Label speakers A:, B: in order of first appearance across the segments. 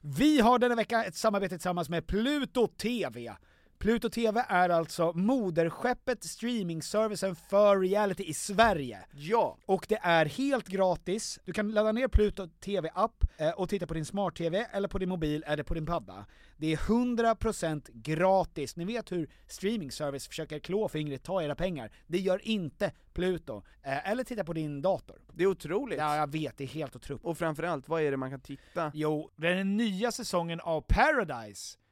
A: Vi har denna vecka ett samarbete tillsammans med Pluto TV. Pluto TV är alltså moderskeppet streamingservicen för reality i Sverige.
B: Ja!
A: Och det är helt gratis. Du kan ladda ner Pluto TV-app eh, och titta på din smart-TV eller på din mobil eller på din padda. Det är 100% gratis. Ni vet hur streamingservice försöker klå fingret, ta era pengar. Det gör inte Pluto. Eh, Eller titta på din dator.
B: Det är otroligt.
A: Ja, jag vet, det är helt otroligt.
B: Och framförallt, vad är det man kan titta?
A: Jo, det är den nya säsongen av Paradise.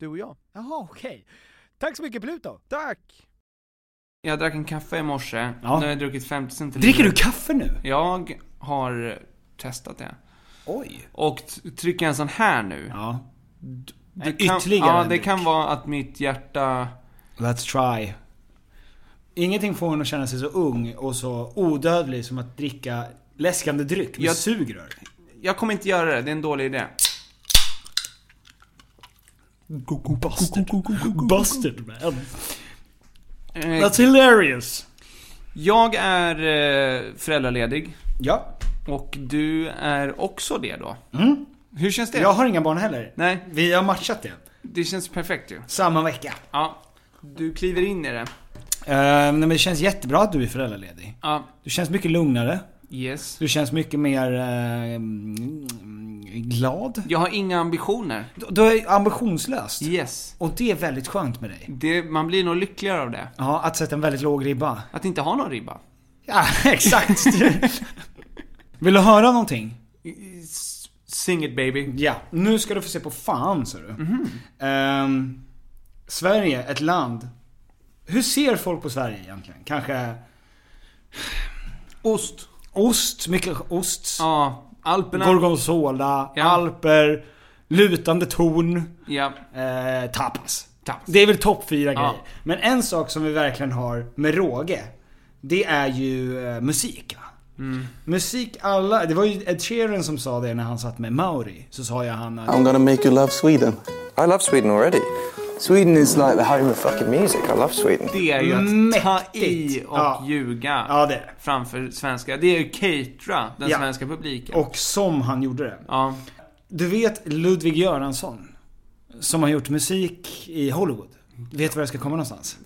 B: Du och jag.
A: Jaha, okej. Tack så mycket Pluto!
B: Tack! Jag drack en kaffe i morse,
C: Ja.
B: nu har jag druckit 50 centiliter.
C: Dricker du kaffe nu?
B: Jag har testat det.
C: Oj.
B: Och t- trycker jag en sån här nu.
C: Ja.
B: Det kan,
C: Ytterligare en
B: Ja, det
C: dryck.
B: kan vara att mitt hjärta...
C: Let's try. Ingenting får en att känna sig så ung och så odödlig som att dricka läskande dryck med
B: Jag-
C: sugrör.
B: Jag kommer inte göra det, det är en dålig idé.
C: Bastard. Bastard man.
B: Eh,
C: That's hilarious.
B: Jag är eh, föräldraledig
C: Ja.
B: och du är också det då.
C: Mm.
B: Hur känns det?
C: Jag har inga barn heller.
B: Nej,
C: Vi har matchat det.
B: det känns perfekt ju.
C: Samma vecka.
B: Ja, du kliver in i det.
C: Uh, nej men det känns jättebra att du är föräldraledig.
B: Ja,
C: Du känns mycket lugnare.
B: yes.
C: Du känns mycket mer eh, mm, glad.
B: Jag har inga ambitioner.
C: Du, du är ambitionslöst.
B: Yes.
C: Och det är väldigt skönt med dig.
B: Det, man blir nog lyckligare av det.
C: Ja, att sätta en väldigt låg ribba.
B: Att inte ha någon ribba.
C: Ja, exakt. Vill du höra någonting?
B: S- Sing it baby.
C: Ja, nu ska du få se på fan sa du.
B: Mhm.
C: Ehm, Sverige, ett land. Hur ser folk på Sverige egentligen? Kanske
B: Ost.
C: ost, mycket ost.
B: Ja, Alperna.
C: Gorgonzola,
B: Ja.
C: alper, lutande torn,
B: Ja,
C: eh, tapas.
B: taps.
C: Det är väl topp fyra
B: Ja.
C: grejer. Men en sak som vi verkligen har med råge, det är ju eh, musik. Va?
B: Mm.
C: Musik alla, det var ju Ed Sheeran som sa det när han satt med Mauri. Så sa jag han att...
D: I'm gonna make you love Sweden. I love Sweden already. Sweden is like the home of fucking music. I love Sweden.
B: Det är ju
C: Mm.
B: att ta i
C: Mäktigt.
B: och
C: Ja.
B: ljuga
C: Ja det är det.
B: framför svenska. Det är ju catera den
C: Ja.
B: svenska publiken.
C: Och som han gjorde det.
B: Ja,
C: Du vet Ludvig Göransson? Som har gjort musik i Hollywood. Vet du var jag ska komma någonstans?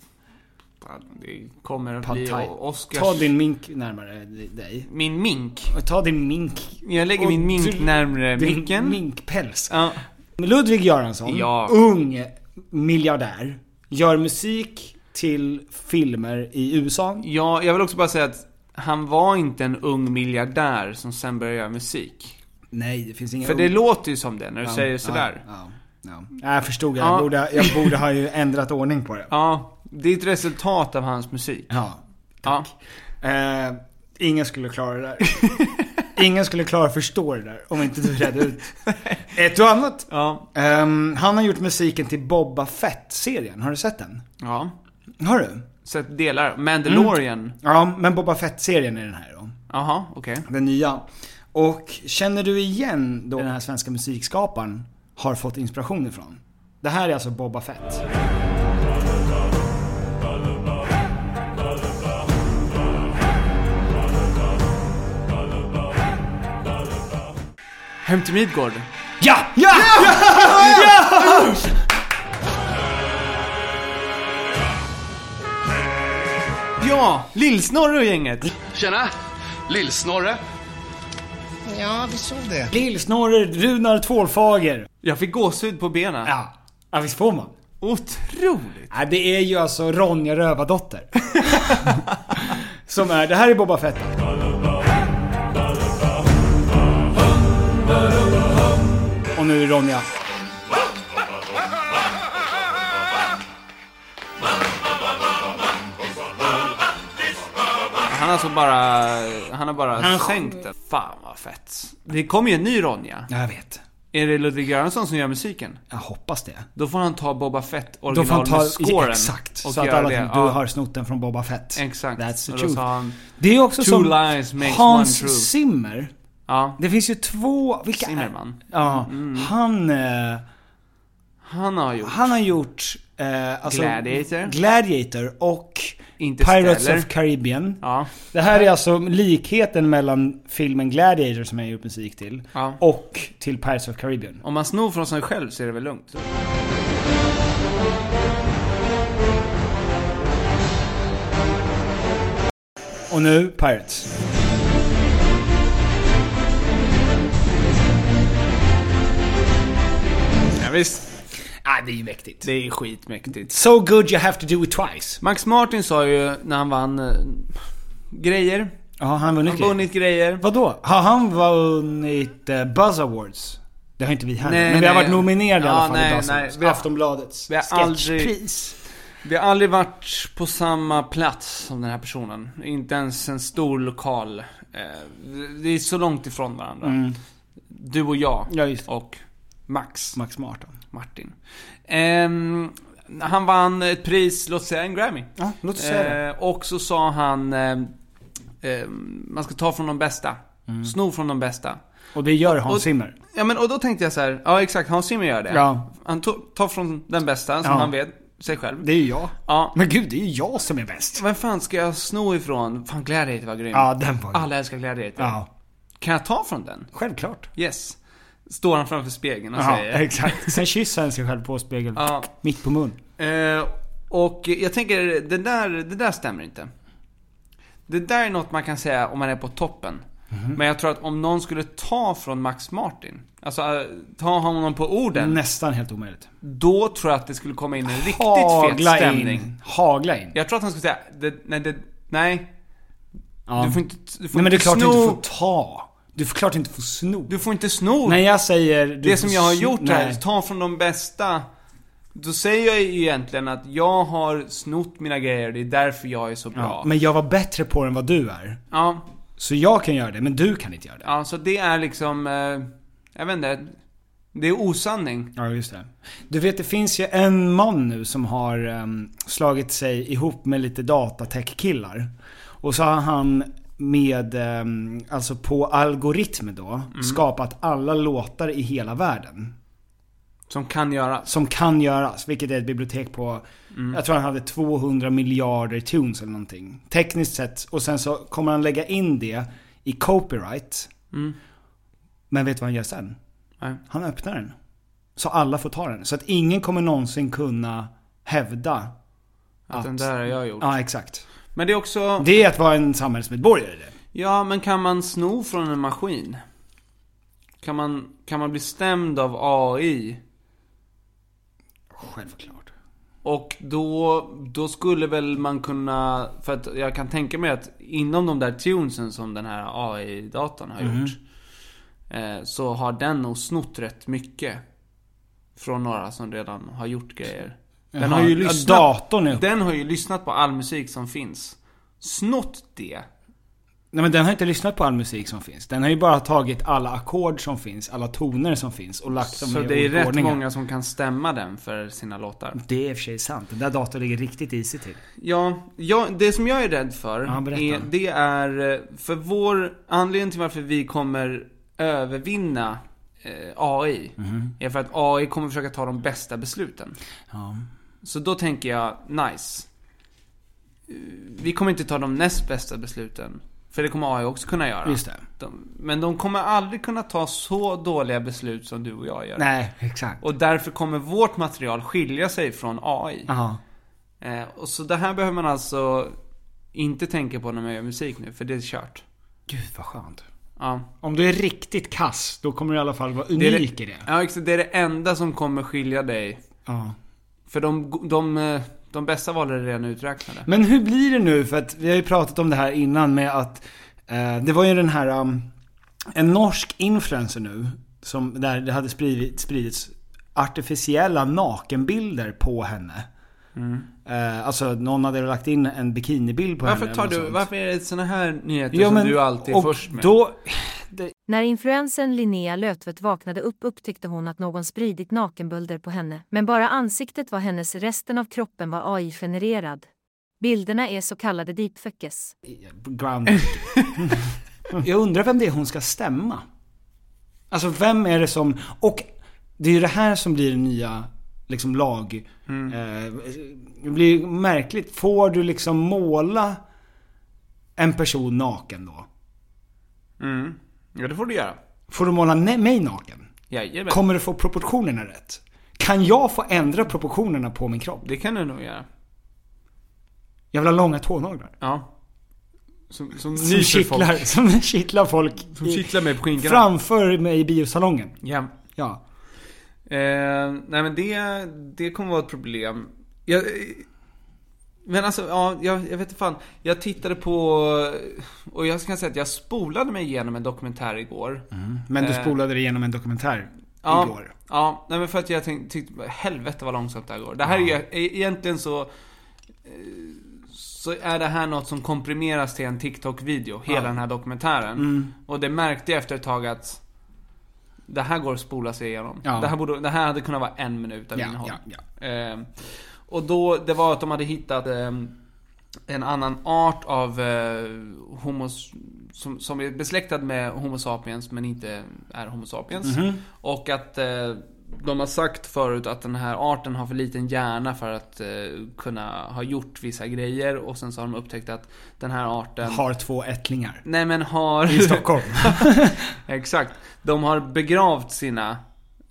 B: det kommer att
C: Pad
B: bli
C: Thai.
B: Oscars...
C: Ta din mink närmare dig.
B: Min mink.
C: Och Ta din mink.
B: Jag lägger
C: och
B: min mink
C: dr-
B: närmre
C: din
B: micken.
C: minkpäls.
B: Ja.
C: Ludvig Göransson,
B: Ja.
C: ung miljardär, gör musik till filmer i USA.
B: ja, jag vill också bara säga att han var inte en ung miljardär som sen började göra musik.
C: Nej, det finns inga
B: För det
C: ord.
B: låter ju som det när du
C: Ja,
B: säger
C: ja,
B: sådär.
C: Ja, ja. Ja, Jag förstod, jag,
B: Ja.
C: borde, jag borde ha ju ändrat ordning på det.
B: Ja, det är ett resultat av hans musik.
C: Ja.
B: Ja.
C: Eh, ingen skulle klara det där. Ingen skulle klara att förstå det där om inte du redde ut ett och annat.
B: Ja.
C: Ehm, han har gjort musiken till Boba Fett-serien, har du sett den?
B: ja.
C: Har du?
B: Så att delar. Mandalorian.
C: Ja, men Boba Fett-serien är den här då.
B: Jaha, okej.
C: Den nya. Och känner du igen då den här svenska musikskaparen har fått inspiration ifrån? Det här är alltså Boba Fett.
B: Hem till Midgård.
C: Ja! Ja! Ja!
B: Ja! Lill-Snorre och gänget.
E: Tjena! Lill-Snorre.
C: Lill-Snorre Runar Tvålfager.
B: Jag fick gåshud på benen.
C: Ja. ja, visst får man?
B: Otroligt!
C: Nej, det är ju alltså Ronja Rövardotter. Som är, det här är Boba Fett. Och nu är det Ronja.
B: Han har alltså bara... Han har bara
C: Han-
B: sänkt den. Fan vad fett. Det kommer ju en ny Ronja.
C: Ja, jag vet.
B: Är det Ludvig Göransson som gör musiken?
C: Jag hoppas det.
B: Då får han ta Boba Fett
C: Då får han ta
B: originalscoren.
C: exakt,
B: och
C: så att
B: göra
C: alla
B: det.
C: tänker
B: Ja.
C: du har snott den från Boba Fett.
B: Exakt.
C: That's the
B: och då
C: truth.
B: sa han...
C: Det är också
B: Two
C: som
B: lies makes
C: Hans
B: one truth.
C: Zimmer.
B: Ja.
C: Det finns ju två, vilka är
B: Zimmerman. Mm.
C: Ja, han, eh,
B: Han har gjort...
C: han har gjort eh, alltså,
B: Gladiator.
C: Gladiator och
B: Interstellar.
C: Pirates of Caribbean.
B: Ja.
C: Det här är alltså likheten mellan filmen Gladiator som jag gjort musik till
B: Ja.
C: och till Pirates of Caribbean.
B: Om man snor från sig själv så är det väl lugnt?
C: Och nu Pirates.
B: Ja, visst.
C: Ah, det är ju mäktigt.
B: Det är skitmäktigt.
C: So good you have to do it twice.
B: Max Martin sa ju när han vann eh, grejer.
C: Ja, han vunnit
B: Han
C: grejer.
B: har vunnit grejer.
C: Vadå? Har han vunnit eh, Buzz Awards? Det har inte vi heller.
B: Nej,
C: men vi har
B: nej.
C: varit nominerade i
B: Ja,
C: alla fall
B: nej,
C: i Buzz
B: nej.
C: Awards.
B: Vi har-
C: Aftonbladets
B: vi har aldrig- Vi har aldrig varit på samma plats som den här personen. Inte ens en stor lokal. Eh, Det är så långt ifrån varandra. Du och jag.
C: Mm. Ja, just det.
B: Och Max
C: Max Martin.
B: Martin. Ehm, han vann ett pris, låt säga en Grammy.
C: Ja, låt oss säga det.
B: Eh, och så sa han... ehm, ehm, man ska ta från de bästa.
C: Mm.
B: Sno från de bästa.
C: Och det gör Hans
B: och-
C: Zimmer.
B: Ja men och då tänkte jag så här, ja exakt, Hans Zimmer gör det.
C: Ja.
B: Han to- tar från den bästa, som
C: Ja.
B: han vet, sig själv.
C: Det är ju jag.
B: Ja.
C: Men gud, det är ju jag som är bäst.
B: Vem fan ska jag sno ifrån? Fan Gladiator var grym.
C: Ja, den var
B: Alla älskar Gladiator.
C: Ja,
B: Kan jag ta från den?
C: självklart.
B: Yes. Står han framför spegeln och
C: Ja,
B: säger.
C: exakt. Sen kysser han sig själv på spegeln.
B: Ja.
C: Mitt på mun.
B: Eh, och jag tänker, det där, det där stämmer inte. Det där är något man kan säga om man är på toppen.
C: Mhm.
B: Men jag tror att om någon skulle ta från Max Martin, alltså eh, ta honom på orden,
C: Nästan helt omöjligt.
B: då tror jag att det skulle komma in en riktigt fet stämning.
C: in. Hagla in.
B: Jag tror att han skulle säga, det, nej, det, nej,
C: Ja.
B: du får inte, du får
C: Nej men det är
B: inte
C: klart
B: sno,
C: du inte får ta. Du får klart inte får sno.
B: du får inte sno
C: När jag säger... Du
B: Det
C: får
B: som jag har
C: sno-
B: gjort här,
C: Nej.
B: ta från de bästa. Då säger jag ju egentligen att jag har snott mina grejer, det är därför jag är så bra.
C: Ja, men jag var bättre på det än vad du är.
B: Ja,
C: Så jag kan göra det, men du kan inte göra det.
B: ja, så det är liksom, eh, jag vet inte. Det är osanning.
C: Ja, just det. Du vet, det finns ju en man nu som har ehm, slagit sig ihop med lite datatech-killar. Och så har han med, ehm, alltså på algoritmer då, skapat alla låtar i hela världen.
B: Som kan göras.
C: Som kan göras, vilket är ett bibliotek på,
B: Mm.
C: jag tror han hade 200 miljarder tunes eller någonting. Tekniskt sett, och sen så kommer han lägga in det i copyright. Men vet du vad han gör sen?
B: Mm. Nej.
C: Han öppnar den. Så alla får ta den. Så att ingen kommer någonsin kunna hävda.
B: Att, den där har jag gjort.
C: Ja, exakt.
B: Men det är också,
C: Det är att vara en samhällsmedborgare det.
B: ja men kan man sno från en maskin? Kan man, kan man bli stämd av AI?
C: Självklart.
B: Och då, då skulle väl man kunna, för att jag
C: Mm.
B: kan tänka mig att inom de där tunesen som den här AI-datan har gjort. eh, så har den nog snott rätt mycket. Från några som redan har gjort grejer. Den
C: har ju lyssnat- datorn är upp.
B: Den har ju lyssnat på all musik som finns. Snott det.
C: Nej men den har inte lyssnat på all musik som finns. Den har ju bara tagit alla ackord som finns, alla toner som finns och lagt dem
B: Så
C: i
B: det är
C: olika
B: rätt
C: ordningar.
B: många som kan stämma den för sina låtar.
C: Det är i och för sig sant. Den där datorn ligger riktigt isigt till.
B: Ja, ja, det som jag är rädd för,
C: Ja, berätta.
B: är, det är eh, för vår, anledningen till varför vi kommer övervinna eh, AI,
C: Mhm.
B: är för att AI kommer försöka ta de bästa besluten.
C: Ja.
B: Så då tänker jag, nice. Eh, Vi kommer inte ta de näst bästa besluten. För det kommer AI också kunna göra.
C: Just det.
B: De, men de kommer aldrig kunna ta så dåliga beslut som du och jag gör.
C: Nej, exakt.
B: Och därför kommer vårt material skilja sig från AI.
C: Ja.
B: Eh, och så det här behöver man alltså inte tänka på när man gör musik nu, för det är kört.
C: Gud vad skönt.
B: Ja.
C: Om du är riktigt kass, då kommer du i alla fall vara
B: Det är
C: unik i det.
B: Ja, exakt. Det är det enda som kommer skilja dig.
C: Ja.
B: För de, de, eh, de bästa valen är redan uträknade.
C: Men hur blir det nu? För att vi har ju pratat om det här innan med att eh, det var ju den här um, en norsk influencer nu som där det hade spridit, spridits artificiella nakenbilder på henne. Eh, alltså någon hade lagt in en bikinibild på
B: Varför
C: henne.
B: tar
C: eller något
B: du,
C: sånt.
B: varför är det såna här nyheter
C: Ja,
B: som
C: men,
B: du alltid är
C: och
B: först med?
C: Då,
F: När influensen Linnea Lötvedt vaknade upp upptäckte hon att någon spridit nakenbilder på henne, men bara ansiktet var hennes, resten av kroppen var AI-genererad. Bilderna är så kallade deepfakes.
C: ground. jag undrar vem det är hon ska stämma. Alltså vem är det som... Och det är ju det här som blir den nya liksom lag...
B: Mm.
C: Eh, det blir ju märkligt. Får du liksom måla en person naken då?
B: Mm. Ja, det får du göra.
C: Får du måla ne- mig naken?
B: Jajamän.
C: Kommer du få proportionerna rätt? Kan jag få ändra proportionerna på min kropp?
B: Det kan du nog göra.
C: Jag vill ha långa tånaglar.
B: Ja. Som, som,
C: Som
B: nyper
C: kittlar,
B: folk.
C: som kittlar folk
B: Som
C: i-
B: kittlar mig på skinkorna.
C: framför mig i biosalongen.
B: Ja.
C: Ja.
B: Eh, nej men det, det kommer vara ett problem. Jag, eh, men alltså, ja, jag, jag vet inte fan. Jag tittade på, och jag kan säga att jag spolade mig igenom en dokumentär igår.
C: Men du
B: Eh.
C: spolade det genom en dokumentär
B: ja,
C: Mm. igår.
B: Ja, nej men för att jag tänk, tyckte, helvete vad långsamt det här går. Det här är ju, e- egentligen så, eh, så är det här något som komprimeras till en TikTok-video, hela den här dokumentären.
C: Mm.
B: Och det märkte jag efter ett tag att det här går att spola sig igenom.
C: Ja.
B: Det, här borde, det här hade kunnat vara en minut av
C: Ja,
B: innehåll.
C: ja,
B: Eh, och då, det var att de hade hittat eh, en annan art av eh, homos... Som, som är besläktad med Homo sapiens men inte är Homo sapiens.
C: Mhm.
B: Och att eh, de har sagt förut att den här arten har för liten hjärna för att eh, kunna ha gjort vissa grejer. Och sen så har de upptäckt att den här arten...
C: Har två ättlingar.
B: Nej men har...
C: I Stockholm.
B: Exakt. De har begravt sina...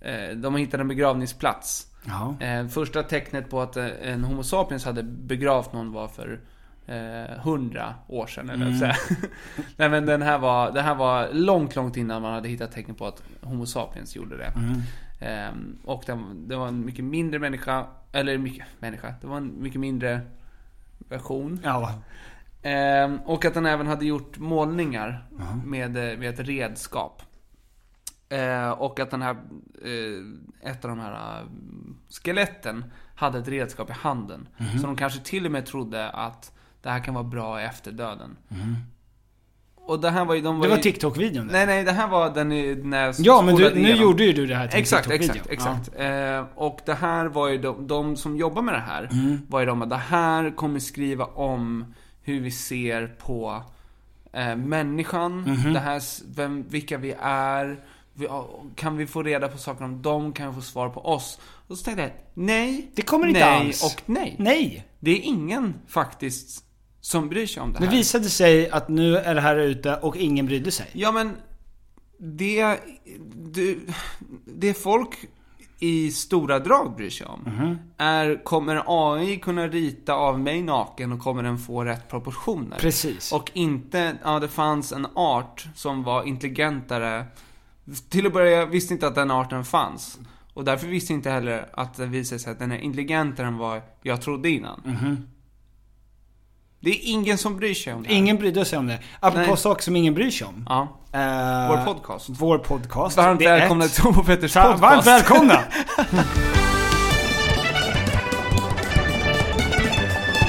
B: Eh, de har hittat en begravningsplats.
C: ja.
B: Eh, första tecknet på att eh, en Homo sapiens hade begravt någon var för eh, hundra år sedan eller så här. Nej men den här var, det här var långt, långt innan man hade hittat tecken på att Homo sapiens gjorde det. Ehm, och den, det var en mycket mindre människa, eller mycket människa, det var en mycket mindre version.
C: ja.
B: Ehm, och att han även hade gjort målningar med, eh, med ett redskap. Eh, och att den här, eh, ett av de här eh, skeletten hade ett redskap i handen.
C: Mhm.
B: Så de kanske till och med trodde att det här kan vara bra efter döden. Och det här var ju, de var
C: Mhm. Det var
B: ju,
C: TikTok-videon där.
B: Nej nej, det här var den i- när jag
C: Ja men du, nu
B: spolade igenom.
C: gjorde ju du det här till
B: Exakt,
C: TikTok-videon.
B: exakt, exakt. Eh, och det här var ju de, de som jobbar med det här,
C: Mm.
B: var ju de att det här kommer skriva om hur vi ser på eh, människan,
C: Mhm.
B: det här, s- vem, vilka vi är, vi, ja, kan vi få reda på saker om dem, kan vi få svar på oss? Och så tänkte jag, nej,
C: Det kommer inte
B: nej
C: alls.
B: och nej.
C: Ja. Nej!
B: Det är ingen faktiskt som bryr sig om det
C: Det
B: här.
C: visade sig att nu är det här ute och ingen brydde sig.
B: Ja men det, det, det folk i stora drag bryr sig om
C: Mhm.
B: är, kommer AI kunna rita av mig naken och kommer den få rätt proportioner?
C: Precis.
B: Och inte, ja det fanns en art som var intelligentare. Till att börja visste inte att den arten fanns. Och därför visste inte heller
C: Mhm.
B: att det visade sig att den är intelligentare än vad jag trodde innan. Det är ingen som bryr sig om det här.
C: Ingen brydde sig om det. Apropå
B: Nej.
C: saker som ingen bryr sig om.
B: Ja.
C: Eh,
B: Vår podcast.
C: Vår podcast.
B: Varmt
C: Det är
B: välkomna
C: ett.
B: till Tom och Petters
C: Ta-
B: podcast.
C: Ah, Varmt välkomna!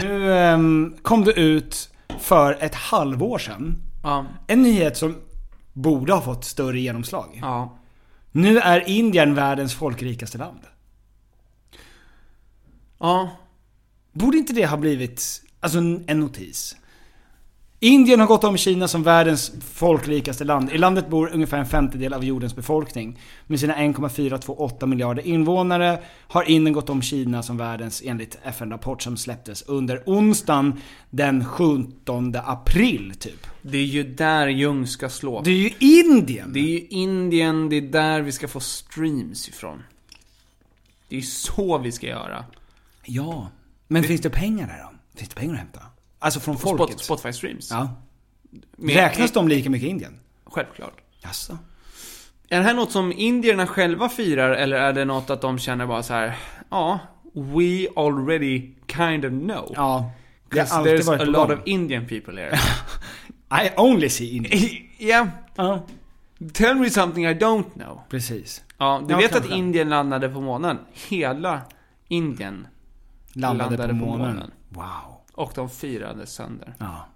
C: nu ehm, kom det ut för ett halvår sedan.
B: Ja.
C: En nyhet som borde ha fått större genomslag.
B: Ja.
C: Nu är Indien världens folkrikaste land.
B: Ja.
C: Borde inte det ha blivit alltså, en en notis? Indien har gått om Kina som världens folkrikaste land. I landet bor ungefär en femtedel av jordens befolkning. Med sina 1,428 miljarder invånare har Indien gått om Kina som världens enligt FN-rapport som släpptes under onsdagen den 17 april typ.
B: Det är ju där Jung ska slå.
C: Det är ju Indien!
B: Det är ju Indien, det är där vi ska få streams ifrån. Det är ju så vi ska göra.
C: Ja. Men finns det pengar där då? Finns det pengar att hämta? Alltså från
B: Spot,
C: folket?
B: Spotify-streams.
C: Ja.
B: Men-
C: Räknas de lika mycket i Indien?
B: Självklart.
C: Jaså?
B: Är det här något som indierna själva firar eller är det något att de känner bara så här, ja, we already kind of know.
C: Ja. Det har
B: 'Cause
C: alltid
B: there's
C: varit
B: a
C: på
B: lot
C: gång.
B: of Indian people here.
C: I only see Indien.
B: yeah,
C: Ja,
B: tell me something I don't know.
C: precis.
B: Ja, du
C: Ja,
B: vet
C: kanske.
B: att Indien landade på månen? Hela Indien.
C: Landade,
B: Landade
C: på,
B: på
C: månen.
B: månen.
C: Wow.
B: Och de firade sönder.
C: Ja.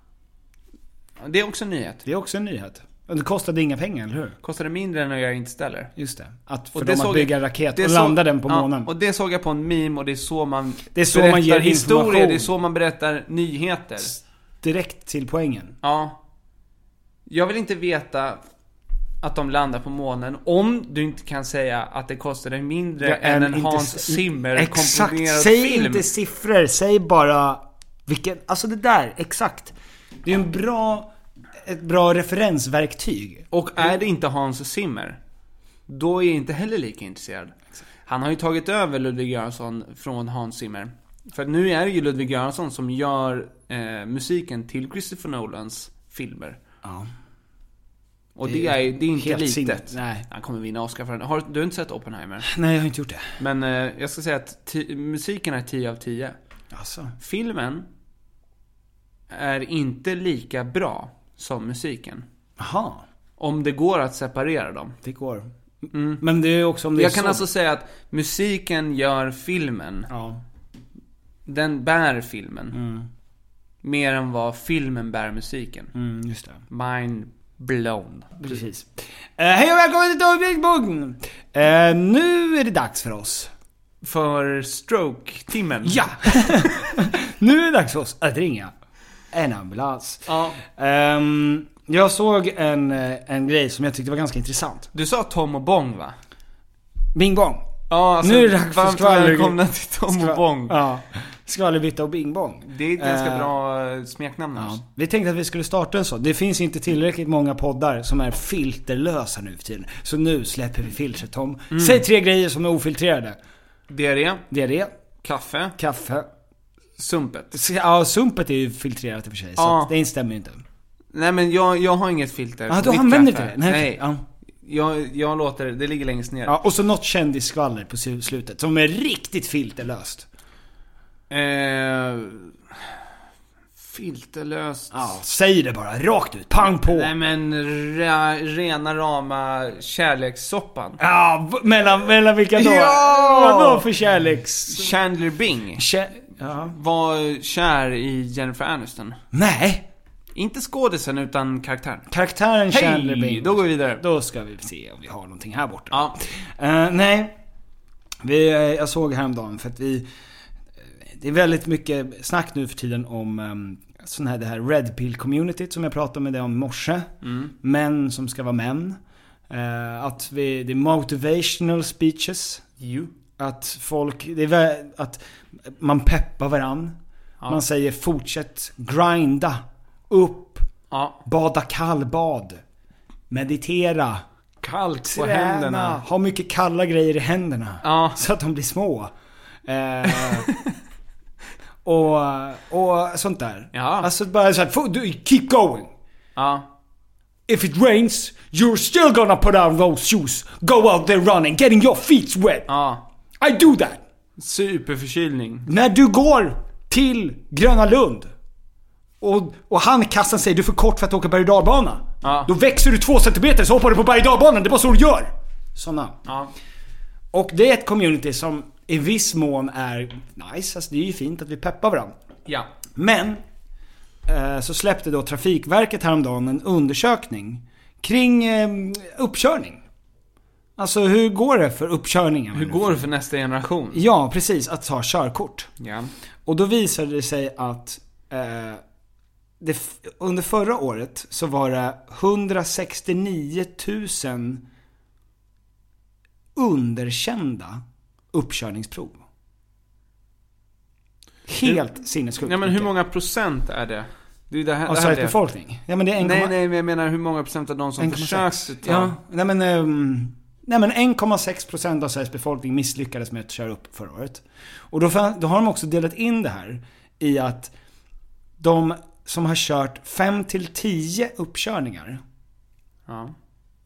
B: Det är också en nyhet.
C: Det är också en nyhet. Och Det kostade inga pengar, eller hur?
B: Kostade mindre än att göra interstellar.
C: Just det. Att för
B: Och det
C: dem att
B: såg
C: bygga en
B: jag-
C: raket
B: det
C: och
B: såg-
C: landa den på
B: ja,
C: månen.
B: Och det såg jag på en meme och det är så man
C: Det är så man ger
B: historier,
C: information.
B: det är så man berättar nyheter.
C: Direkt till poängen.
B: Ja. Jag vill inte veta att de landar på månen om du inte kan säga att det kostade mindre
C: Ja,
B: än en
C: inte-
B: Hans Zimmer
C: Exakt.
B: komponerad
C: Säg
B: film.
C: inte siffror, säg bara vilken... Alltså det där, exakt. Det är en bra... Ett bra referensverktyg.
B: Och är det inte Hans Zimmer, då är jag inte heller lika intresserad. Han har ju tagit över Ludvig Göransson från Hans Zimmer. För att nu är det ju Ludvig Göransson som gör eh, musiken till Christopher Nolans filmer.
C: Ja.
B: Och
C: Det
B: det,
C: är
B: är, det är inte
C: helt
B: litet.
C: sinnet, nej.
B: Han kommer vinna Oscar för den. Har, du har inte sett Oppenheimer?
C: Nej, jag har inte gjort det.
B: Men eh, jag ska säga att ti- musiken är 10 av 10.
C: Alltså.
B: Filmen är inte lika bra som musiken.
C: Jaha.
B: Om det går att separera dem.
C: Det går. Men det är också om det är
B: Mm. Jag kan
C: så.
B: alltså säga att musiken gör filmen.
C: Ja.
B: Den bär filmen. Mer än vad filmen bär musiken.
C: Mm, just det.
B: Mind blown.
C: Precis. Eh, hej och välkommen till Dagbjörn Bugn! Eh, nu är det dags för oss.
B: För stroke-timmen.
C: Ja! nu är det dags för oss att ringa en ambulans.
B: ja!
C: Ehm, jag såg en, eh, en grej som jag tyckte var ganska intressant.
B: Du sa Tom och Bong va?
C: Bing bong.
B: Ja, alltså,
C: Nu är det dags för
B: varmt
C: skvaller.
B: välkomna till Tom och Bong.
C: Ja. Skvallerbytta och bing bong.
B: Det är ett ganska
C: Eh,
B: bra eh, smeknamn
C: Ja.
B: ja.
C: Vi tänkte att vi skulle starta en sån. Det finns inte tillräckligt många poddar som är filterlösa nu för tiden. Så nu släpper vi filtret Tom.
B: Mm.
C: Säg tre grejer som är ofiltrerade.
B: Diarré,
C: Det är det.
B: kaffe,
C: Kaffe.
B: sumpet.
C: Ja, sumpet är ju filtrerat i och för sig. Så
B: Ja.
C: att det instämmer ju inte. Ah,
B: Nej men jag, jag har inget filter.
C: Ja,
B: på
C: du
B: mitt
C: använder inte
B: kaffe.
C: det?
B: Nej.
C: Ja.
B: Jag, jag låter, det ligger längst ner.
C: ja. Och så något kändisskvaller på slu- slutet. Som är riktigt filterlöst.
B: Eh, filterlöst.
C: Ja, säg det bara. Rakt ut. Pang på.
B: Nej men ra, rena rama kärlekssoppan.
C: Ja, v- mellan, mellan vilka då?
B: Ja!
C: Vadå för kärleks...
B: Chandler Bing
C: Kä- ja.
B: var kär i Jennifer Aniston.
C: Nej!
B: Inte skådisen utan karaktären.
C: Karaktären Chandler
B: Hej!
C: Bing.
B: Då går vi vidare.
C: Då ska vi se om vi har någonting här borta.
B: Ja.
C: Eh, nej. Vi, eh, jag såg häromdagen för att vi... eh, Det är väldigt mycket snack nu för tiden om um, sån här, det här Red Pill communityt som jag pratade med dig om i morse.
B: Mm.
C: Män som ska vara män. Eh, att vi, det är motivational speeches.
B: You.
C: Att folk, det är vä- att man peppar varann. Man säger fortsätt grinda. Upp.
B: Ja.
C: Bada kallbad. Meditera.
B: Kallt på
C: Träna.
B: händerna.
C: Ha mycket kalla grejer i händerna.
B: Ja.
C: Så att de blir små. Eh, och, och sånt där.
B: Ja.
C: Alltså bara såhär, "Fo- du, keep going.
B: Ja.
C: If it rains, you're still gonna put on those shoes. Go out there running, getting your feet wet.
B: Ja.
C: I do that.
B: Superförkylning.
C: När du går till Gröna Lund, Och, och han kastar sig, du är för kort för att åka berg och dalbana. Då växer du två centimeter så hoppar du på berg och dalbanan. Det är bara så du gör. Sådana. Och det är ett community som i viss mån är nice. Alltså det är ju fint att vi peppar varandra.
B: Ja.
C: Men eh, så släppte då Trafikverket häromdagen en undersökning kring eh, uppkörning. Alltså hur går det för uppkörningen?
B: Hur går det för nästa generation?
C: Ja, precis. Att ta körkort.
B: Ja.
C: Och då visade det sig att eh, det, f- under förra året så var det 169 000 underkända uppkörningsprov. Helt sinnessjukt.
B: Nej men hur
C: mycket.
B: många procent är det? det, är ju det här,
C: Av
B: det här
C: Sveriges
B: det.
C: befolkning? Ja men det är 1,
B: Nej nej men jag menar hur många procent av de som
C: 1,6.
B: försökte ta...
C: Ja, nej men, ehm, nej men 1,6% av Sveriges befolkning misslyckades med att köra upp förra året. Och då, fann, då har de också delat in det här i att de som har kört 5-10 uppkörningar,
B: Ja.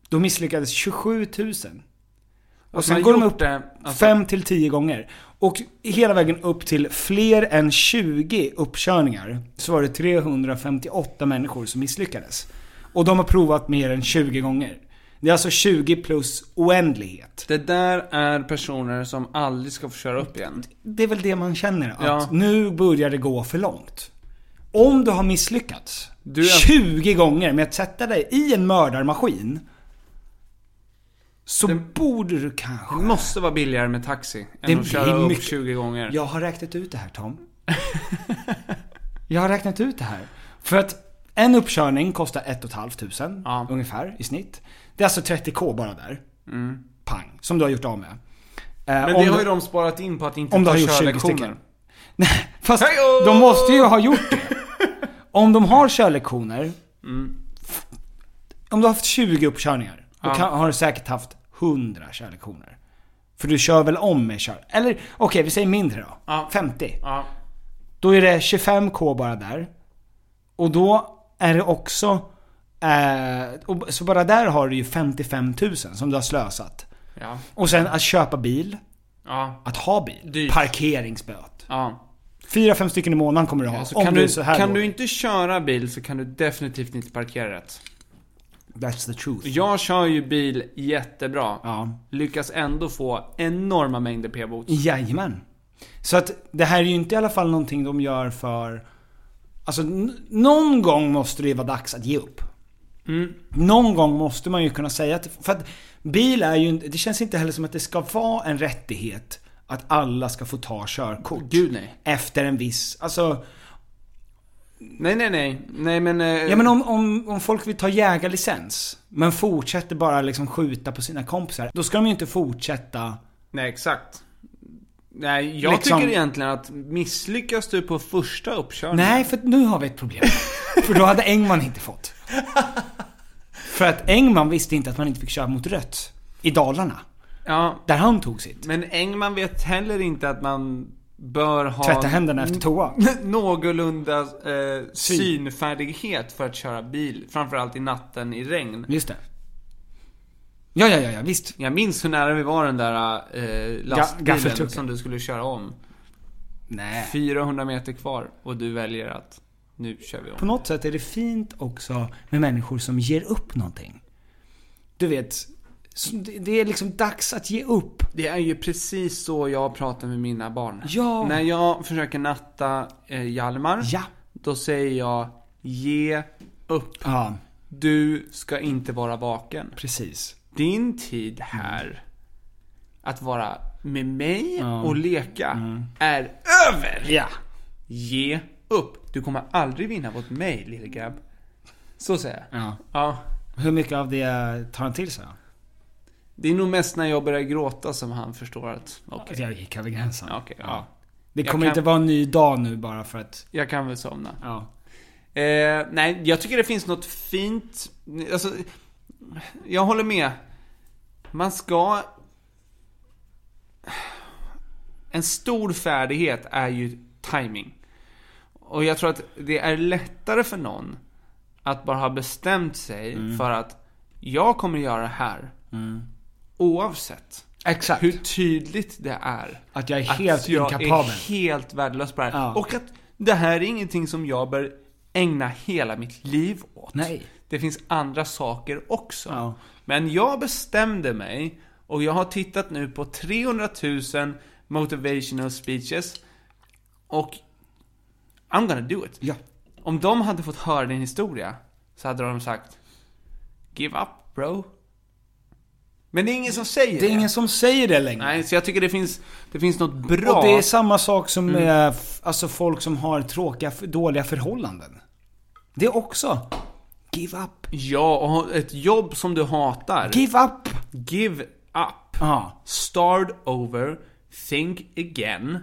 C: då misslyckades 27 000. Och sen
B: man
C: går de
B: gjort
C: upp
B: det, alltså-
C: 5-10 gånger. Och hela vägen upp till fler än 20 uppkörningar så var det 358 människor som misslyckades. Och de har provat mer än 20 gånger. Det är alltså 20 plus oändlighet.
B: Det där är personer som aldrig ska få köra upp igen.
C: Det är väl det man känner, att
B: Ja.
C: nu börjar det gå för långt. Om du har misslyckats
B: Du är-
C: 20 gånger med att sätta dig i en mördarmaskin. Så borde du kanske...
B: Det måste vara billigare med taxi än
C: Det
B: att köra
C: blir
B: upp
C: mycket.
B: 20 gånger.
C: Jag har räknat ut det här Tom. jag har räknat ut det här. För att en uppkörning kostar 1 500
B: Ja.
C: ungefär i snitt. Det är alltså 30k bara där. Pang. Som du har gjort av med. Eh,
B: Mm. Men
C: om
B: det har
C: du-
B: ju de sparat in på att inte
C: om du
B: ta
C: har gjort 20
B: körlektioner.
C: stycken. Nej, fast
B: Hejo!
C: de måste ju ha gjort det. Om de har körlektioner. Om du har haft 20 uppkörningar. Då
B: Mm. Ja.
C: kan, har du säkert haft 100 körlektioner. För du kör väl om med kör... Eller okej, vi säger mindre då.
B: Ja.
C: 50.
B: Ja.
C: Då är det 25k bara där. Och då är det också... Eh, och, så bara där har du ju 55 000 som du har slösat.
B: Ja.
C: Och sen att köpa bil,
B: Ja.
C: att ha bil,
B: Dyrt.
C: parkeringsböt.
B: Ja.
C: Fyra, fem stycken i månaden kommer du ha.
B: Alltså,
C: om
B: kan
C: du är
B: du,
C: så här
B: kan
C: låg.
B: du inte köra bil så kan du definitivt inte parkera rätt.
C: That's the truth.
B: Jag kör ju bil jättebra.
C: Ja.
B: Lyckas ändå få enorma mängder p-bot.
C: Jajamän. Så att det här är ju inte i alla fall någonting de gör för... Alltså n- någon gång måste det ju vara dags att ge upp.
B: Mm.
C: Någon gång måste man ju kunna säga att... För att bil är ju inte- Det känns inte heller som att det ska vara en rättighet att alla ska få ta körkort.
B: Gud, nej.
C: Efter en viss... Alltså...
B: Nej, nej, nej. Nej men... eh,
C: Ja men om, om, om folk vill ta jägarlicens, men fortsätter bara liksom skjuta på sina kompisar. Då ska de ju inte fortsätta...
B: Nej, exakt. Nej, jag
C: Liksom-
B: tycker egentligen att misslyckas du på första uppkörningen.
C: Nej, för att nu har vi ett problem. för då hade Engman inte fått. för att Engman visste inte att man inte fick köra mot rött. I Dalarna.
B: Ja,
C: Där han tog sitt.
B: men Engman vet heller inte att man bör ha...
C: Tvätta händerna efter toa.
B: Någorlunda eh, synfärdighet för att köra bil. Framförallt i natten i regn.
C: Just det. Ja, ja, ja, ja visst.
B: Jag minns hur nära vi var den där eh, lastbilen
C: gaffeltrucken.
B: som du skulle köra om.
C: Nej.
B: 400 meter kvar och du väljer att nu kör vi
C: På
B: om.
C: något sätt är det fint också med människor som ger upp någonting. Du vet, så det- det är liksom dags att ge upp.
B: Det är ju precis så jag pratar med mina barn.
C: Ja.
B: När jag försöker natta eh, Hjalmar,
C: Ja.
B: då säger jag ge upp.
C: Ja,
B: Du ska inte vara vaken.
C: precis.
B: Din tid här, att vara med mig och leka, är över.
C: Ja.
B: Ge upp. Du kommer aldrig vinna mot mig, lille grabb. Så säger jag.
C: ja.
B: Ja.
C: Hur mycket av det tar han till sig? då?
B: Det är nog mest när jag börjar gråta som han förstår att, okej,
C: Jag gick över gränsen.
B: ja, okej, ja.
C: Det
B: Jag
C: kommer
B: kan-
C: inte vara en ny dag nu bara för att...
B: Jag kan väl somna.
C: Ja.
B: Eh, nej, jag tycker det finns något fint. Alltså, jag håller med. Man ska... En stor färdighet är ju timing. Och jag tror att det är lättare för någon att bara ha bestämt sig för att jag kommer göra det här. Oavsett
C: Exakt.
B: hur tydligt det är.
C: Att jag är helt
B: jag
C: inkapabel.
B: är helt värdelös på det här.
C: Ja.
B: Och att det här är ingenting som jag bör ägna hela mitt liv åt.
G: Nej.
B: Det finns andra saker också. Men jag bestämde mig och jag har tittat nu på 300 000 motivational speeches och I'm gonna do it.
G: Ja.
B: Om de hade fått höra din historia så hade de sagt Give up bro. Men det är ingen som säger
G: Det är ingen som säger det längre.
B: Nej, så jag tycker det finns, det finns något bra.
G: Mm. Och det är samma sak som
C: Mm.
G: med f- alltså folk som har tråkiga, f- dåliga förhållanden. Det är också... Give up.
B: Ja, och ha ett jobb som du hatar.
G: Give up!
B: Give up.
G: Ja,
B: Start over. Think again.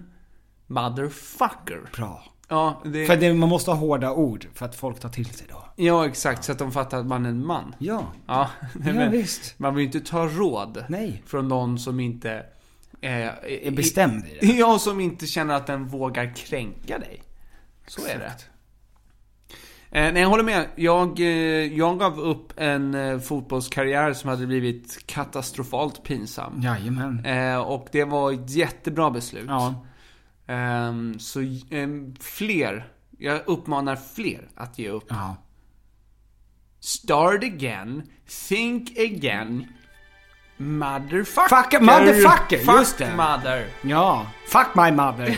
B: Motherfucker.
G: bra.
B: Ja, det...
G: För det, man måste ha hårda ord för att folk tar till sig då.
B: ja, exakt. Så att de fattar att man är en man.
G: Ja.
B: Ja, nej,
G: Ja,
B: men
G: visst.
B: Man vill ju inte ta råd
G: Nej.
B: från någon som inte eh, är
G: bestämd i det.
B: Ja, som inte känner att den vågar kränka dig. Så är det. Eh, nej, jag håller med. Jag, eh, jag gav upp en eh, fotbollskarriär som hade blivit katastrofalt pinsam.
G: Jajamän.
B: Eh, och det var ett jättebra beslut.
G: Ja.
B: Ehm, så ehm, fler, jag uppmanar fler att ge upp.
G: Ja.
B: Start again, think again, motherfucker.
G: Fuck, motherfucker,
B: Fuck
G: just det.
B: mother.
G: Ja. Fuck my mother.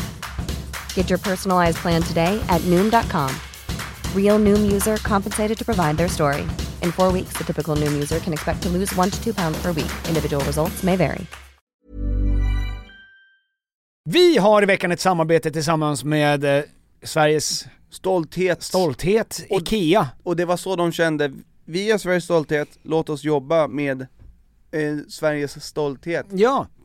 H: Get your personalized plan today at Noom.com. Real Noom user compensated to provide their story. In four weeks, the typical Noom user can expect to lose one to two pounds per week. Individual results may vary.
C: Vi har i veckan ett samarbete tillsammans med eh, Sveriges stolthet, stolthet IKEA.
I: Och det var så de kände, vi är Sveriges stolthet, låt oss jobba med eh, Sveriges stolthet.
C: Ja.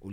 C: och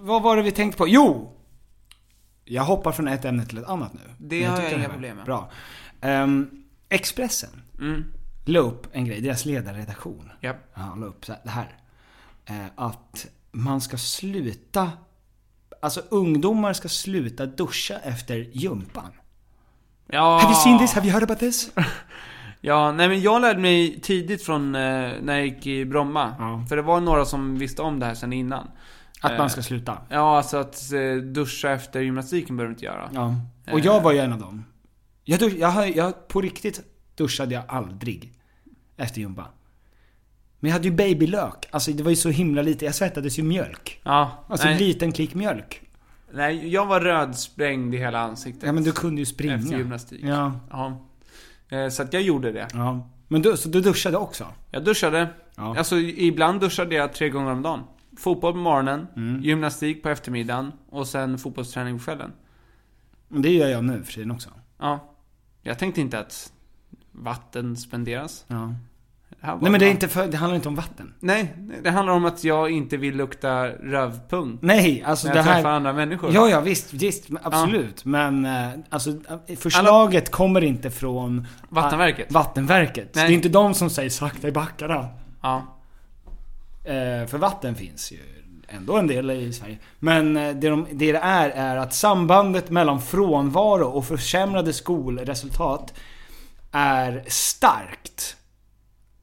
C: Vad var det vi tänkte på? Jo! Jag hoppar från ett ämne till ett annat nu.
B: Det
C: Men
B: har jag
C: tyckte
B: inga
C: var
B: problem med.
C: Bra. Ehm, Expressen
B: Mm.
C: la upp en grej, deras ledarredaktion.
B: Japp.
C: Ja, la upp så här, det här. Eh, att man ska sluta, alltså ungdomar ska sluta duscha efter gympan.
B: Ja.
C: Have you seen this? Have you heard about this?
B: Ja, nej men jag lärde mig tidigt från eh, när jag gick i Bromma. För det var några som visste om det här sen innan.
C: Att
B: Eh,
C: man ska sluta.
B: Ja, alltså att eh, duscha efter gymnastiken behöver du inte göra.
C: Ja. Och jag var ju en av dem. Jag, dusch, jag, har- jag på riktigt duschade jag aldrig efter gympa. Men jag hade ju babylök. Alltså det var ju så himla lite. Jag svettades ju mjölk.
B: Ja,
C: Alltså
B: nej.
C: en liten klick mjölk.
B: Nej, jag var rödsprängd i hela ansiktet.
C: Ja men du kunde ju springa.
B: Efter gymnastik.
C: Ja.
B: Ja. Eh, Så att jag gjorde det.
C: ja. Men du, så du duschade också?
B: Jag duschade. Alltså ibland duschade jag tre gånger om dagen. Fotboll på morgonen,
C: Mm.
B: gymnastik på eftermiddagen och sen fotbollsträning på kvällen.
C: Men Det gör jag nu för tiden också.
B: Ja. Jag tänkte inte att vatten spenderas.
C: Ja.
B: Det här var
C: Nej men det, är
B: bra.
C: inte för, det handlar inte om vatten.
B: Nej, det handlar om att jag inte vill lukta rövpung.
C: Nej, alltså
B: när
C: det
B: jag
C: här...
B: träffar andra människor.
C: Ja, ja visst, visst men absolut. Men eh, alltså, förslaget kommer inte från...
B: Vattenverket.
C: Vattenverket. Så
B: Nej.
C: det är inte de som säger sakta i backarna.
B: Ja.
C: Eh, för vatten finns ju ändå en del i Sverige. Men eh, det, de, det det är, är att sambandet mellan frånvaro och försämrade skolresultat är starkt.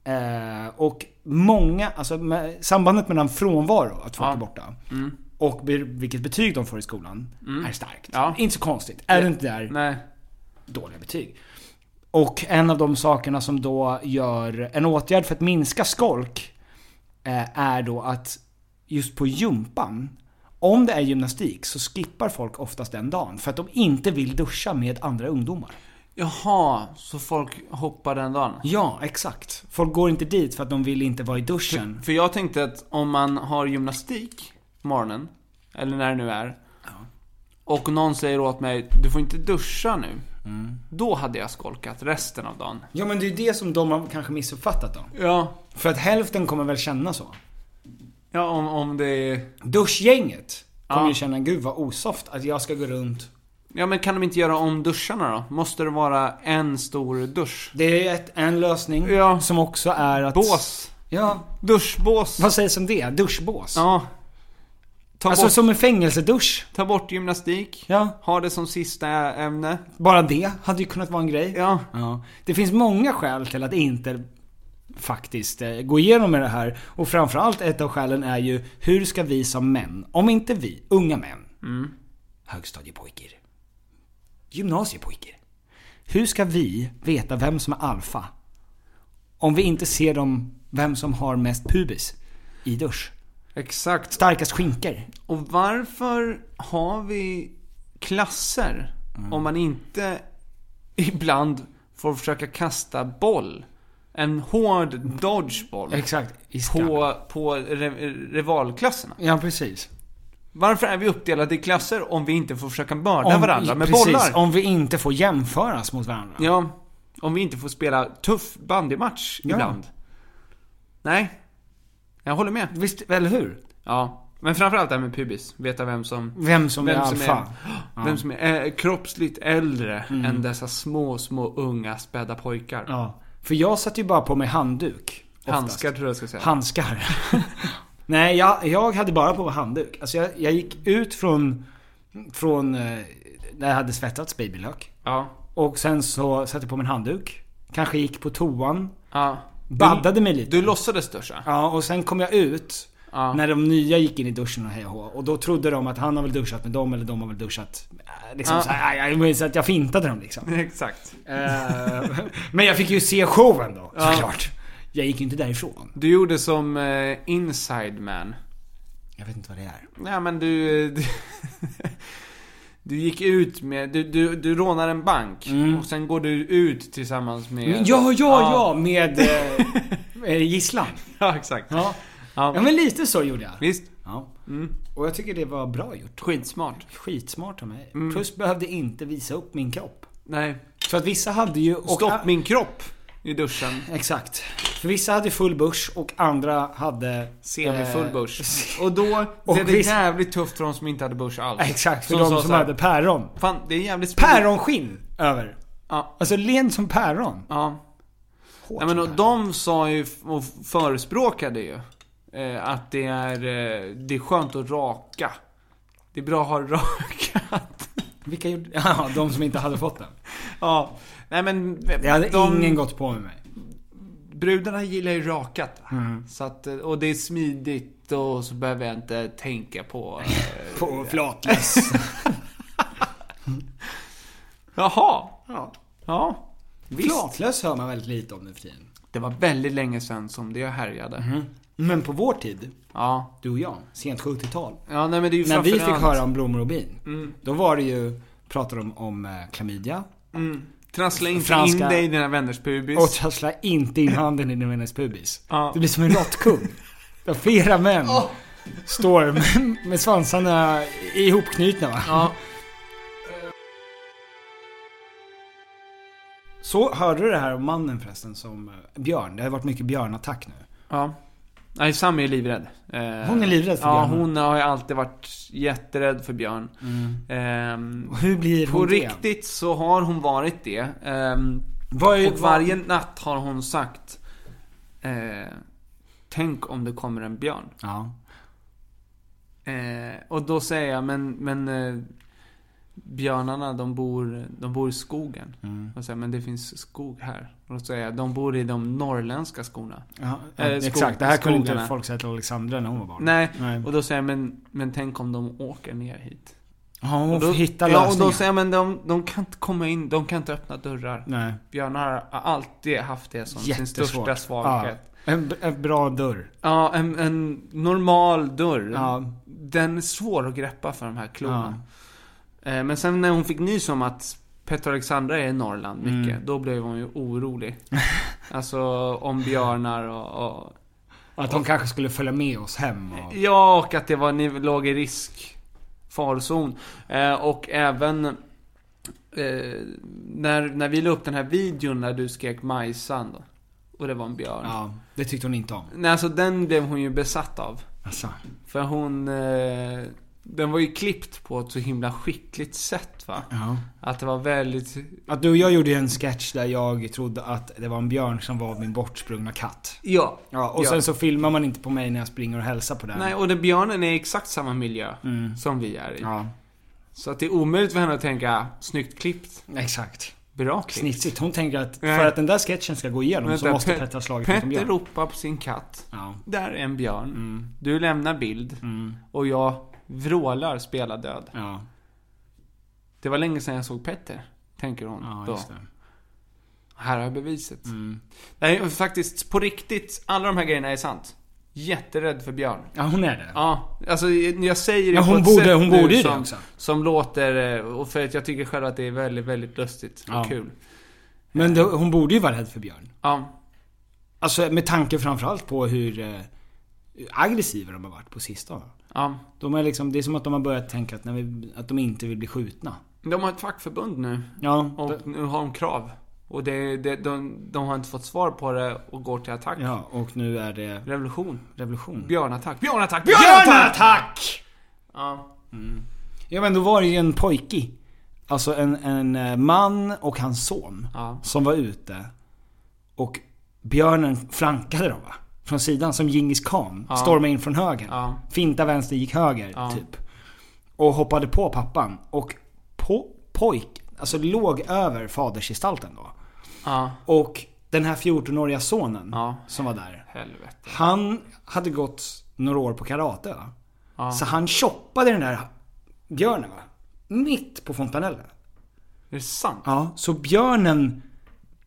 C: Eh, och många, alltså med, sambandet mellan frånvaro, att folk är borta,
B: Mm.
C: och be, vilket betyg de får i skolan,
B: Mm.
C: är starkt.
B: Ja.
C: Inte så konstigt. Är det inte där
B: Nej.
C: dåliga betyg. Och en av de sakerna som då gör en åtgärd för att minska skolk eh, är då att just på gympan, om det är gymnastik så skippar folk oftast den dagen för att de inte vill duscha med andra ungdomar.
B: Jaha, så folk hoppar den dagen?
C: Ja, exakt. Folk går inte dit för att de vill inte vara i duschen.
B: För jag tänkte att om man har gymnastik på morgonen, eller när det nu är. Och någon säger åt mig, du får inte duscha nu.
C: Mm.
B: Då hade jag skolkat resten av dagen.
C: Ja men det är det som de har kanske missuppfattat då.
B: Ja.
C: För att hälften kommer väl känna så.
B: Ja, om, om det är...
C: Duschgänget kommer ju känna, gud vad osoft att jag ska gå runt.
B: Ja men kan de inte göra om duscharna då? Måste det vara en stor dusch?
C: Det är ett, en lösning som också är att...
B: Bås.
C: Ja.
B: Duschbås.
C: Vad sägs om det? Duschbås?
B: Ja. Ta
C: alltså
B: bort-
C: som en fängelsedusch.
B: Ta bort gymnastik.
C: Ja.
B: Ha det som sista ämne.
C: Bara det hade ju kunnat vara en grej.
B: Ja.
C: Det finns många skäl till att inte faktiskt eh, gå igenom med det här. Och framförallt ett av skälen är ju hur ska vi som män, om inte vi, unga män,
B: Mm.
C: högstadiepojkar, gymnasiepojkar. Hur ska vi veta vem som är alfa? Om vi inte ser dem, vem som har mest pubis i dusch.
B: Exakt.
C: Starkast skinkor.
B: Och varför har vi klasser
C: Mm.
B: om man inte ibland får försöka kasta boll? En hård dodgeboll.
C: Exakt.
B: På, på re, rivalklasserna.
C: Ja, precis.
B: Varför är vi uppdelade i klasser om vi inte får försöka mörda
C: Om-
B: varandra med
C: precis,
B: bollar?
C: om vi inte får jämföras mot varandra.
B: Ja, om vi inte får spela tuff bandymatch
C: Ja.
B: ibland. Nej, jag håller med.
C: Visst, eller hur?
B: Ja, men framförallt det här med pubis. Veta vem som...
C: Vem som är alfa.
B: Är, vem som är eh, kroppsligt äldre än dessa små, små unga späda pojkar.
C: Mm. Ja. För jag satte ju bara på mig handduk. oftast.
B: Handskar tror jag jag ska säga.
C: Handskar. Nej, jag, jag hade bara på mig handduk. Alltså jag, jag gick ut från, från eh, där jag hade svettats babylök.
B: Ja.
C: Och sen så satte jag på mig en handduk. Kanske gick på toan.
B: Ja.
C: Baddade mig lite.
B: Du låtsades duscha?
C: Ja, och sen kom jag ut när de nya gick in i duschen och hej och hå. Och då trodde de att han har väl duschat med dem eller de har väl duschat... äh, Liksom
B: Ja.
C: så, här, aj, aj, men så att jag fintade dem liksom.
B: Exakt.
C: Eh, men jag fick ju se showen då,
B: Ja.
C: såklart. Jag gick ju inte därifrån.
B: Du gjorde som eh, inside man.
C: Jag vet inte vad det är.
B: Nej men du... Du, du gick ut med... Du, du, du rånar en bank. Och sen går du ut tillsammans med...
C: Men Ja, ja, ja, med eh, eh, gisslan.
B: Ja, exakt.
C: Ja.
B: Ja.
C: ja, men lite så gjorde jag.
B: Visst.
C: Ja.
B: Mm.
C: Och jag tycker det var bra gjort.
B: Skitsmart.
C: Skitsmart av mig. Plus behövde inte visa upp min kropp.
B: Nej.
C: Så att vissa hade ju... och-
B: Stopp min kropp. I duschen.
C: Exakt. För vissa hade full börs och andra hade...
B: Semifull
C: eh,
B: börs. Och då
C: och
B: blev det
C: vissa-
B: jävligt tufft för de som inte hade börs alls.
C: Exakt, för
B: Som
C: de
B: sa
C: som
B: så här,
C: hade päron.
B: Fan, det är jävligt smidigt."
C: Päronskinn över.
B: Ja.
C: Alltså len som päron.
B: Ja. Nej, men och de sa ju f- och förespråkade ju eh, att det är, eh, det är skönt att raka. Det är bra att ha rakat.
C: Vilka gjorde... Ja, de som inte hade fått den.
B: Ja. Nej men...
C: Det hade ingen gått på med mig.
B: Brudarna gillar ju rakat. va?
C: Mm.
B: Så att, eh, och det är smidigt och så behöver jag inte tänka på... eh,
C: På flatless.
B: Jaha.
C: Ja.
B: Ja. Visst.
C: Flatlös hör man väldigt lite om nu för tiden.
B: Det var väldigt länge sedan som det härjade.
C: Mhm. Men på vår tid,
B: Ja.
C: du och jag, sent 70-tal.
B: Ja, nej men det är ju
C: När vi fick
B: framförallt-
C: höra om blommor och bin.
B: Mm.
C: Då var det ju, pratade de om eh, klamydia.
B: Mm. Trassla inte
C: Franska-
B: in dig i dina vänners pubis.
C: Och trassla inte in handen i din vänners pubis.
B: Ja.
C: Det blir som en råttkung. Där flera män står med, med svansarna ihopknutna va.
B: Ja.
C: Så hörde du det här om mannen förresten som... eh, Björn. Det har varit mycket björnattack nu.
B: Ja. Nej, Sami är livrädd. Eh,
C: Hon är livrädd för
B: Ja,
C: björn.
B: hon har ju alltid varit jätterädd för björn. Ehm,
C: Och Hur blir
B: på
C: hon det?
B: riktigt så har hon varit det. Ehm,
C: Vad är-
B: och varje natt har hon sagt eh, Tänk om det kommer en björn.
C: Ja.
B: Eh, och då säger jag, men, men eh, björnarna de bor, de bor i skogen.
C: Mm.
B: Och säger, men det finns skog här. Och då säger jag, de bor i de norrländska skorna.
C: Ja,
B: Eh, skog-
C: exakt, det här kunde inte
B: skogarna.
C: folk säga till Alexandra när hon var barn.
B: Nej.
C: Nej.
B: och då säger jag, men, men tänk om de åker ner hit.
C: Ja, hon
B: och då,
C: får hitta
B: ja, och
C: lösningar.
B: då säger jag, men de, de kan inte komma in, de kan inte öppna dörrar.
C: Nej.
B: Björnar har alltid haft det som sin största svaghet.
C: Ja. En, b- en bra dörr.
B: Ja, en, en normal dörr.
C: Ja.
B: Den är svår att greppa för de här klorna. Eh, Men sen när hon fick nys om att Petra Alexandra är i Norrland mycket,
C: Mm.
B: då blev hon ju orolig. alltså om björnar och, och...
C: Att de kanske skulle följa med oss hem och...
B: Ja, och att det var, ni låg i risk farzon. Eh, och även eh, när, när vi la upp den här videon när du skrek Majsan då. Och det var en björn.
C: Ja, det tyckte hon inte om.
B: Nej, alltså den blev hon ju besatt av.
C: Alltså.
B: För hon... Eh, den var ju klippt på ett så himla skickligt sätt va?
C: Ja.
B: Att det var väldigt...
C: Att du och jag gjorde ju en sketch där jag trodde att det var en björn som var min bortsprungna katt.
B: Ja.
C: Ja, och
B: ja.
C: sen så filmar man inte på mig när jag springer och hälsar på den.
B: Nej, och den björnen är i exakt samma miljö
C: Mm.
B: som vi är i.
C: Ja,
B: Så att det är omöjligt för henne att tänka, "Ah, snyggt klippt.
C: exakt.
B: Bra klippt.
C: Snitsigt. Hon tänker att
B: Nej.
C: för att den där sketchen ska gå igenom så
B: Vänta,
C: måste
B: Pe-
C: Petter ha slagit mot en
B: Petter
C: björn.
B: ropar på sin katt.
C: Ja. Mm.
B: Där är en björn. Du lämnar bild. Och jag vrålar spela död.
C: Ja,
B: Det var länge sedan jag såg Petter. Tänker hon
C: ja
B: då.
C: just det.
B: Här har jag beviset.
C: Mm.
B: Nej, och faktiskt på riktigt. Alla de här grejerna är sant. Jätterädd för björn.
C: Ja, hon är det.
B: Ja, alltså jag säger det
C: Ja,
B: på
C: hon
B: ett
C: borde-
B: sätt
C: hon
B: nu
C: borde ju det
B: som,
C: också.
B: som låter... eh, Och för att jag tycker själv att det är väldigt, väldigt lustigt och
C: Ja.
B: kul.
C: Men då, hon borde ju vara rädd för björn.
B: Ja.
C: Alltså med tanke framförallt på hur eh, aggressiva de har varit på sistone.
B: ja.
C: De är liksom, det är som att de har börjat tänka att, när vi, att de inte vill bli skjutna.
B: De har ett fackförbund nu.
C: Ja, d-
B: Och nu har de krav. Och det, det, de, de har inte fått svar på det och går till attack.
C: ja och nu är det
B: Revolution.
C: revolution.
B: Björnattack. Björnattack.
C: Björnattack!
B: Ja.
C: Mm. Ja men då var det ju en pojke. Alltså en, en eh, man och hans son.
B: Ja.
C: Som var ute. Och björnen flankade dem va? Från sidan som Djingis khan.
B: Ja.
C: Stormade in från höger.
B: Ja.
C: Finta vänster, gick höger
B: Ja.
C: typ. Och hoppade på pappan. Och po- pojk, alltså låg över fadersgestalten då.
B: Ja.
C: Och den här 14-åriga sonen
B: Ja.
C: som var där.
B: Helvete.
C: Han hade gått några år på karate va?
B: Ja.
C: Så han choppade den där björnen va? Mitt på fontanellen.
B: Är det sant?
C: Ja, så björnen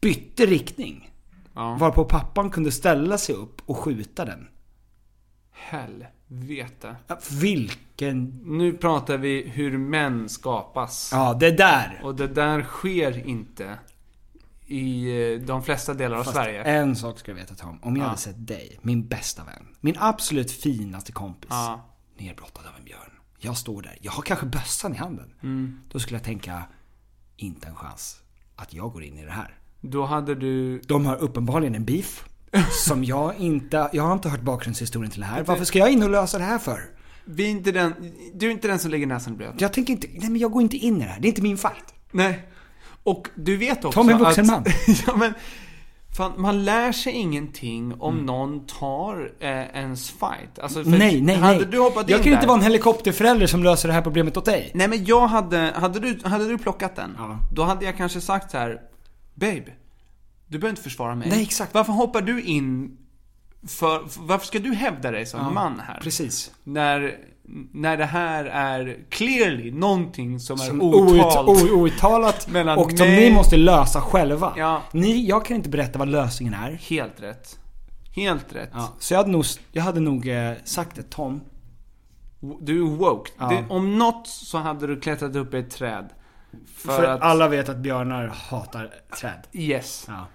C: bytte riktning.
B: Ja.
C: Varpå pappan kunde ställa sig upp och skjuta den.
B: Helvete.
C: Ja, Vilken...
B: Nu pratar vi hur män skapas.
C: Ja, det där.
B: Och det där sker inte i eh, de flesta delar av
C: Fast
B: Sverige.
C: en sak ska jag veta Tom. Om jag
B: Ja.
C: hade sett dig, min bästa vän, min absolut finaste kompis,
B: Ja.
C: nerbrottad av en björn. Jag står där, jag har kanske
B: Mm.
C: bössan i handen. Då skulle jag tänka, inte en chans att jag går in i det här.
B: Då hade du...
C: De har uppenbarligen en beef. som jag inte... Jag har inte hört bakgrundshistorien till det här. Varför ska jag in och lösa det här för?
B: Vi är inte den, du är inte den som lägger näsan i blöt.
C: Jag tänker inte... Nej men jag går inte in i det här. Det är inte min fight.
B: Nej. Och du vet också
C: Tom är en vuxen man.
B: ja, men, fan, man lär sig ingenting om någon tar eh, ens fight. Alltså, för
C: Mm. nej, nej,
B: hade
C: nej.
B: du hoppat
C: jag
B: in
C: kan
B: där,
C: inte vara en helikopterförälder som löser det här problemet åt dig.
B: Nej men jag hade, hade du, hade du plockat den, då hade jag kanske sagt så här, Babe, du behöver inte försvara mig.
C: Nej, exakt.
B: Varför hoppar du in för, för- varför ska du hävda dig som
C: Ja,
B: man här?
C: Precis.
B: När, när det här är clearly någonting som,
C: Som
B: är outalt.
C: out- o- outtalat
B: mellan
C: och som
B: mig-
C: ni måste lösa själva.
B: Ja.
C: Ni, jag kan inte berätta vad lösningen är.
B: Helt rätt. Helt rätt.
C: Ja, så jag hade nog, jag hade nog eh, sagt det Tom.
B: Du är woke.
C: Ja.
B: Det, om något så hade du klättrat upp i ett träd. För,
C: För,
B: att...
C: alla vet att björnar hatar träd.
B: Yes.
C: Ja.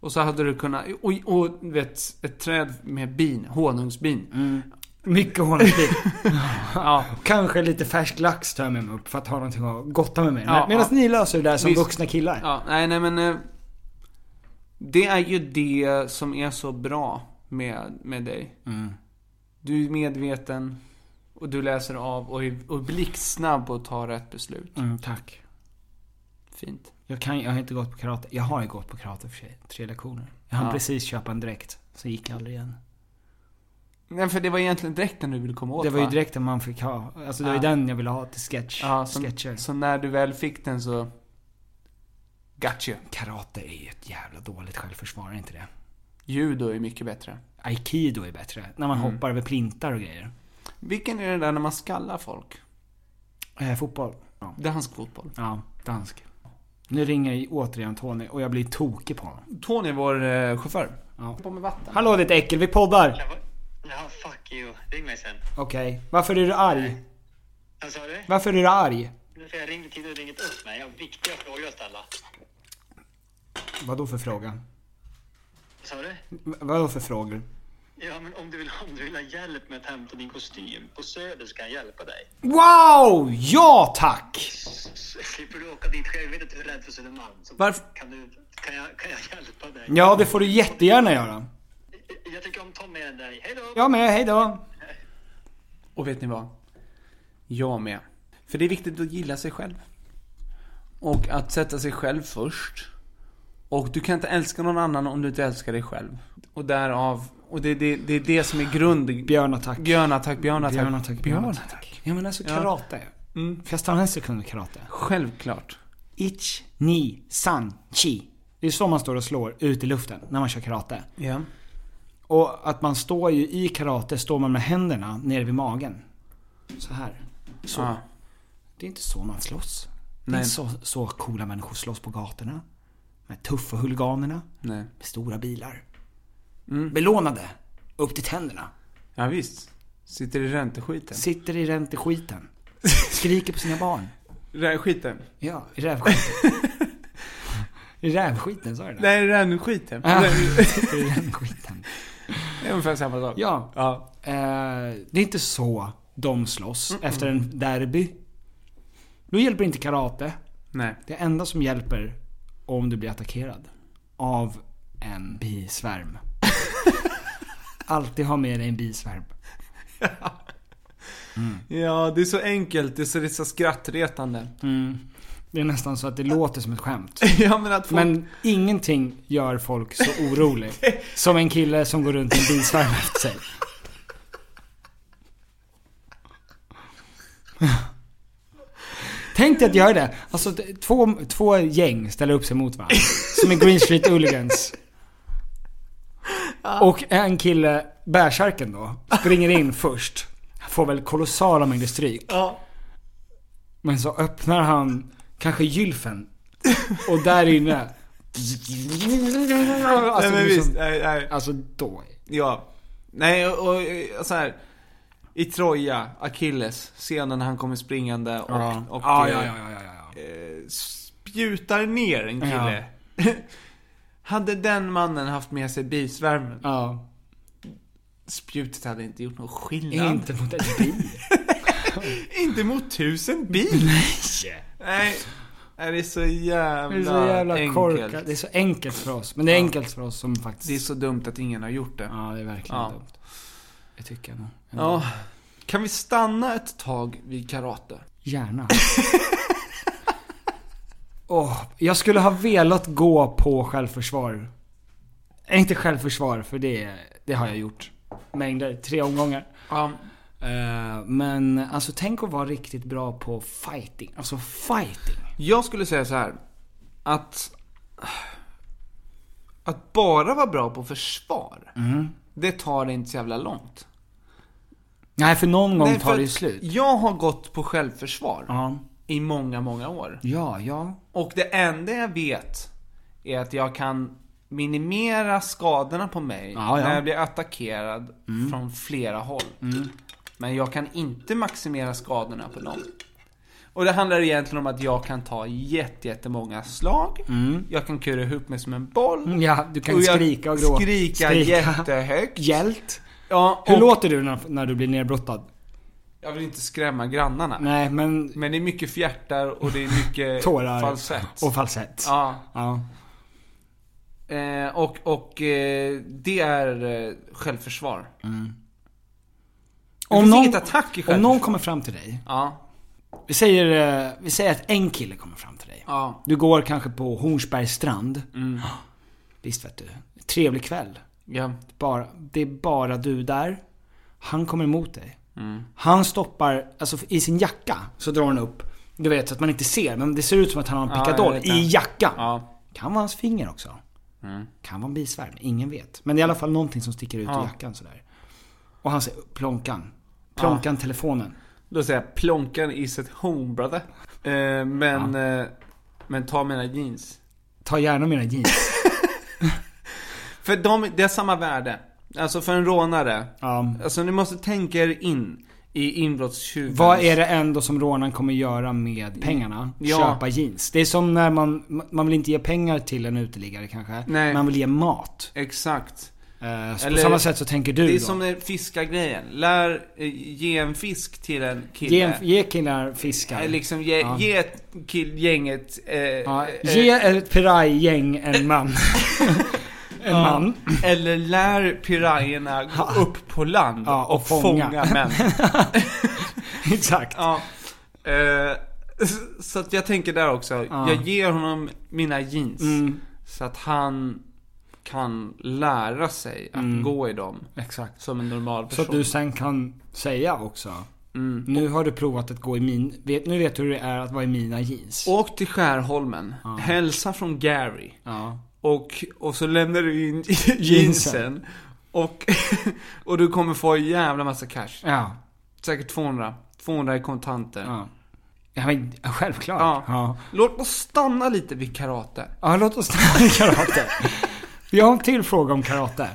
B: Och så hade du kunnat... Och, och du vet, ett träd med bin. Honungsbin.
C: Mm. Mycket honungsbit.
B: ja.
C: Kanske lite färsk lax tar jag med mig upp för att ha någonting att gotta med mig.
B: Ja,
C: Medan
B: ja.
C: ni löser det där som
B: Visst.
C: vuxna killar.
B: Ja, nej, nej men... eh, Det är ju det som är så bra med, med dig.
C: Mm.
B: Du är medveten. Och du läser av och är, och är blixtsnabb på att ta rätt beslut.
C: Mm, tack.
B: Fint.
C: Jag, kan, jag har inte gått på karate. Jag har ju gått på karate för sig. Tre lektioner. Jag hann
B: Ja.
C: precis köpa en dräkt. Så gick jag aldrig igen.
B: Nej, för det var egentligen dräkten du ville komma åt
C: Det var ju
B: va?
C: dräkten man fick ha. Alltså det var ju
B: Ja.
C: den jag ville ha till sketch.
B: Ja, så,
C: sketcher.
B: så när du väl fick den så... Gotcha.
C: Karate är ju ett jävla dåligt självförsvar, är inte det?
B: Judo är mycket bättre.
C: Aikido är bättre. När man
B: Mm.
C: hoppar över plintar och grejer.
B: Vilken är det där när man skallar folk?
C: Eh, fotboll. Ja.
B: Dansk fotboll.
C: ja, dansk. Nu ringer jag återigen Tony och jag blir tokig på honom.
B: Tony är vår eh, chaufför.
C: Ja.
B: På med vatten.
C: Hallå ditt äckel, vi poddar!
J: Ja, fuck you. Ring mig sen.
C: Okej, varför är du arg?
J: Vad sa du?
C: Varför är du arg?
J: Nu säger jag ringde till du ringit upp mig. Jag har viktiga frågor att ställa.
C: Vad då för fråga?
J: Vad sa du?
C: Vad då för frågor?
J: Ja, men om du, vill, om du vill ha hjälp med att hämta din kostym på Söder ska jag hjälpa dig.
C: Wow! Ja tack!
J: Så slipper du åka dit själv. Jag vet att du är rädd för Södermalm. Så
C: Varför-
J: Kan, du, kan, jag, kan jag hjälpa dig?
C: Ja, det får du jättegärna göra.
J: Jag tycker om Tom mer än dig. Hej då!
C: Jag med, hejdå!
B: Och vet ni vad? Jag med. För det är viktigt att gilla sig själv. Och att sätta sig själv först. Och du kan inte älska någon annan om du inte älskar dig själv. Och därav... Och det, det, det är det som är grunden.
C: Björnattack.
B: Björnattack, björnattack.
C: Björnattack, björnattack. Ja men alltså
B: Ja. Mm.
C: karate. Får jag stanna en sekund med karate?
B: Självklart.
C: Ich, ni, san, chi. Det är så man står och slår ut i luften när man kör karate.
B: Ja.
C: Och att man står ju i karate, står man med händerna nere vid magen. Så här. Så.
B: Ja.
C: Det är inte så man slåss. Det är
B: Nej.
C: inte så, så coola människor slåss på gatorna. Med tuffa huliganerna.
B: Nej. Mm.
C: Med stora bilar. Belånade. Upp till tänderna.
B: Ja, visst. Sitter i ränteskiten.
C: Sitter i ränteskiten. Skriker på sina barn.
B: Ränteskiten?
C: Ja, i rävskiten. I rävskiten, sa du det?
B: Nej, rännskiten.
C: Ah,
B: Det
C: sitter i rävskiten.
B: är ungefär samma sak.
C: Ja.
B: ja.
C: Eh, det är inte så de slåss efter en derby. Då hjälper inte karate.
B: Nej.
C: Det enda som hjälper om du blir attackerad av en bisvärm. Alltid ha med dig en bisvärm.
B: Ja, det är så enkelt. Det är så, det är så skrattretande.
C: Mm. Det är nästan så att det låter som ett skämt.
B: ja, men att folk...
C: Men ingenting gör folk så orolig som en kille som går runt i en bisvärm efter sig. Tänk dig att göra det. Alltså t- två, två gäng ställer upp sig mot varandra. Som i Green Street Hooligans. Och en kille, bärsärken då, springer in först. Han Får väl kolossala mängder stryk.
B: Ja.
C: Men så öppnar han kanske gylfen. Och där inne... Alltså,
B: nej,
C: liksom-
B: men visst. Nej, nej.
C: alltså då.
B: Ja. Nej, och, och eh, så här. I Troja, Achilles, scenen när han kommer springande och,
C: Ja.
B: och
C: Ja,
B: eh,
C: ja, ja, ja, ja, ja.
B: eh, spjutar ner en kille. hade den mannen haft med sig bisvärmen,
C: ja.
B: spjutet hade inte gjort någon skillnad.
C: Inte mot ett bi.
B: Inte mot tusen bil. Nej. Nej. Det är så jävla,
C: Det är så jävla
B: enkelt.
C: korkat. Det är så enkelt för oss. Men det är enkelt för oss som faktiskt...
B: Det är så dumt att ingen har gjort det.
C: Ja, det är verkligen
B: Ja.
C: dumt. Det tycker jag nog.
B: Ja. Kan vi stanna ett tag vid karate?
C: Gärna. Åh, jag skulle ha velat gå på självförsvar. Eh, Inte självförsvar, för det, det har jag gjort. Mängder, tre omgångar. Eh, Men alltså tänk att vara riktigt bra på fighting. Alltså fighting.
B: Jag skulle säga så här. Att... Att bara vara bra på försvar.
C: Mm.
B: Det tar inte så jävla långt.
C: Nej, för någon gång
B: Nej, för
C: tar det ju
B: att
C: slut.
B: Jag har gått på självförsvar.
C: Ja.
B: I många, många år.
C: Ja, ja.
B: Och det enda jag vet är att jag kan minimera skadorna på mig
C: Ja, ja.
B: när jag blir attackerad
C: Mm.
B: från flera håll.
C: Mm.
B: Men jag kan inte maximera skadorna på någon. Och det handlar egentligen om att jag kan ta jätte, jättemånga slag.
C: Mm.
B: Jag kan kura ihop mig som en boll.
C: Mm, Ja, du kan
B: Och jag
C: skrika och gråta.
B: Skrika, jättehögt.
C: Hjält.
B: Ja,
C: Hur
B: och-
C: låter du när, när du blir nerbrottad?
B: Jag vill inte skrämma grannarna.
C: Nej, men...
B: Men det är mycket fjärtar och det är mycket
C: Tårar.
B: falsett.
C: Och falsett.
B: Ja.
C: Ja.
B: Eh, och och eh, det är eh, självförsvar.
C: Mm.
B: Det
C: Om
B: finns
C: någon,
B: inget attack i
C: om
B: självförsvar.
C: någon kommer fram till dig.
B: Ja.
C: Vi säger, eh, vi säger att en kille kommer fram till dig.
B: Ja.
C: Du går kanske på Hornsbergs strand.
B: Mm.
C: Visst vet du. Trevlig kväll.
B: Ja.
C: Bara, det är bara du där. Han kommer emot dig.
B: Mm.
C: Han stoppar, alltså i sin jacka så drar han upp, du vet så att man inte ser, men det ser ut som att han har en
B: Ja,
C: pickadoll
B: jag vet det.
C: i jackan.
B: Ja.
C: Kan vara hans finger också.
B: Mm.
C: Kan vara en bisvärm, ingen vet. Men det är i alla fall någonting som sticker ut
B: Ja.
C: ur jackan sådär. Och han säger plånkan. Plånkan telefonen.
B: Då säger jag plånkan is at home brother. Eh, men, eh, men ta mina jeans.
C: Ta gärna mina jeans.
B: För de, det är samma värde. Alltså för en rånare.
C: Ja.
B: Alltså ni måste tänka er in i inbrottstjuvens...
C: Vad är det ändå som rånaren kommer göra med pengarna?
B: Mm. Ja.
C: Köpa jeans. Det är som när man, man vill inte ge pengar till en uteliggare kanske.
B: Nej.
C: Man vill ge mat.
B: Exakt.
C: Eh, så på samma sätt så tänker du
B: Det är
C: då.
B: som den fiskargrejen. Lär, eh, ge en fisk till en kille.
C: Ge, en, ge killar fiskar.
B: Eh, Liksom ge,
C: Ja.
B: ge ett kill, gänget... Eh,
C: Ja,
B: eh,
C: ge ett pirajgäng en man. en
B: ja.
C: man.
B: Eller lär pirajerna gå upp på land
C: Ja, och
B: och, fånga,
C: fånga
B: män.
C: Exakt.
B: Ja. Eh, s- så att jag tänker där också.
C: Ja.
B: Jag ger honom mina jeans.
C: Mm.
B: Så att han kan lära sig att
C: Mm.
B: gå i dem.
C: Exakt.
B: Som en normal
C: Så
B: person.
C: att du sen kan säga också.
B: Mm.
C: Nu har du provat att gå i min... Vet, nu vet du hur det är att vara i mina jeans.
B: Åk till Skärholmen. Hälsa från Gary.
C: Ja.
B: Och, och så lämnar du in
C: Jeansen.
B: jeansen. Och, och du kommer få en jävla massa cash.
C: Ja.
B: Säkert 200. 200 i kontanter.
C: Ja. Ja men självklart.
B: Ja.
C: Ja.
B: Låt oss stanna lite vid karate.
C: Ja, låt oss ta karate. Jag har en till fråga om karate.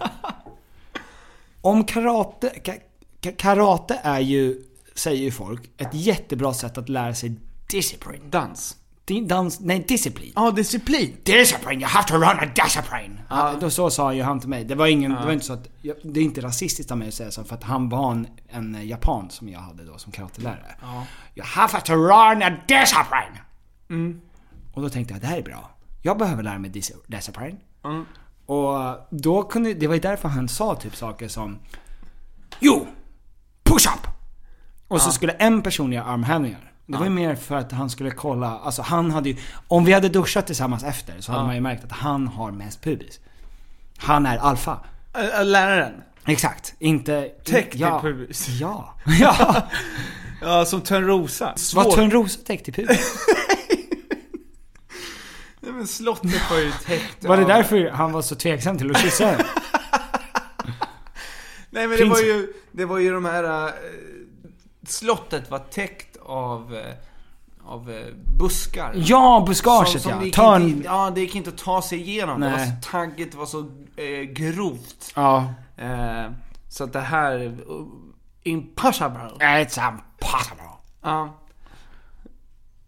C: Om karate... ka- ka- Karate är ju, säger ju folk, ett jättebra sätt att lära sig disciplin.
B: Dans.
C: Din dans... Nej, disciplin.
B: Ja, disciplin.
C: Discipline, you have to run a discipline. Ja. Då så sa ju han till mig. Det var ingen, det var inte så att, jag- det är inte rasistiskt av mig att säga så för att han var en, en eh, japan som jag hade då som karatelärare.
B: Ja.
C: You have to run a discipline.
B: Mm.
C: Och då tänkte jag, det här är bra. Jag behöver lära mig dis- discipline.
B: Mm.
C: Och då kunde, det var ju därför han sa typ saker som Jo! Push up! Och så skulle en person göra armhävningar. Det var ju mer för att han skulle kolla, alltså han hade ju, om vi hade duschat tillsammans efter så hade man ju märkt att han har mest pubis. Han är alfa.
B: Ä- ä, Läraren.
C: Exakt, inte...
B: Täckt i
C: ja.
B: pubis.
C: Ja. ja.
B: Ja, som Törnrosa.
C: Var
B: Svårt.
C: Törnrosa täckt i pubis?
B: Nej, men slottet var ju täckt
C: Var det
B: av-
C: därför han var så tveksam till att kyssa henne?
B: Nej men det
C: Finns-
B: var ju, det var ju de här... eh, Slottet var täckt av... eh, Av eh, buskar.
C: Ja, buskaget
B: det
C: ja.
B: gick
C: Törn...
B: Inte, ja, det gick inte att ta sig igenom. Det var
C: Nej.
B: så, tagget var så eh, grovt.
C: Ja.
B: Eh, så att det här... Uh, impossible.
C: It's impossible.
B: Ja.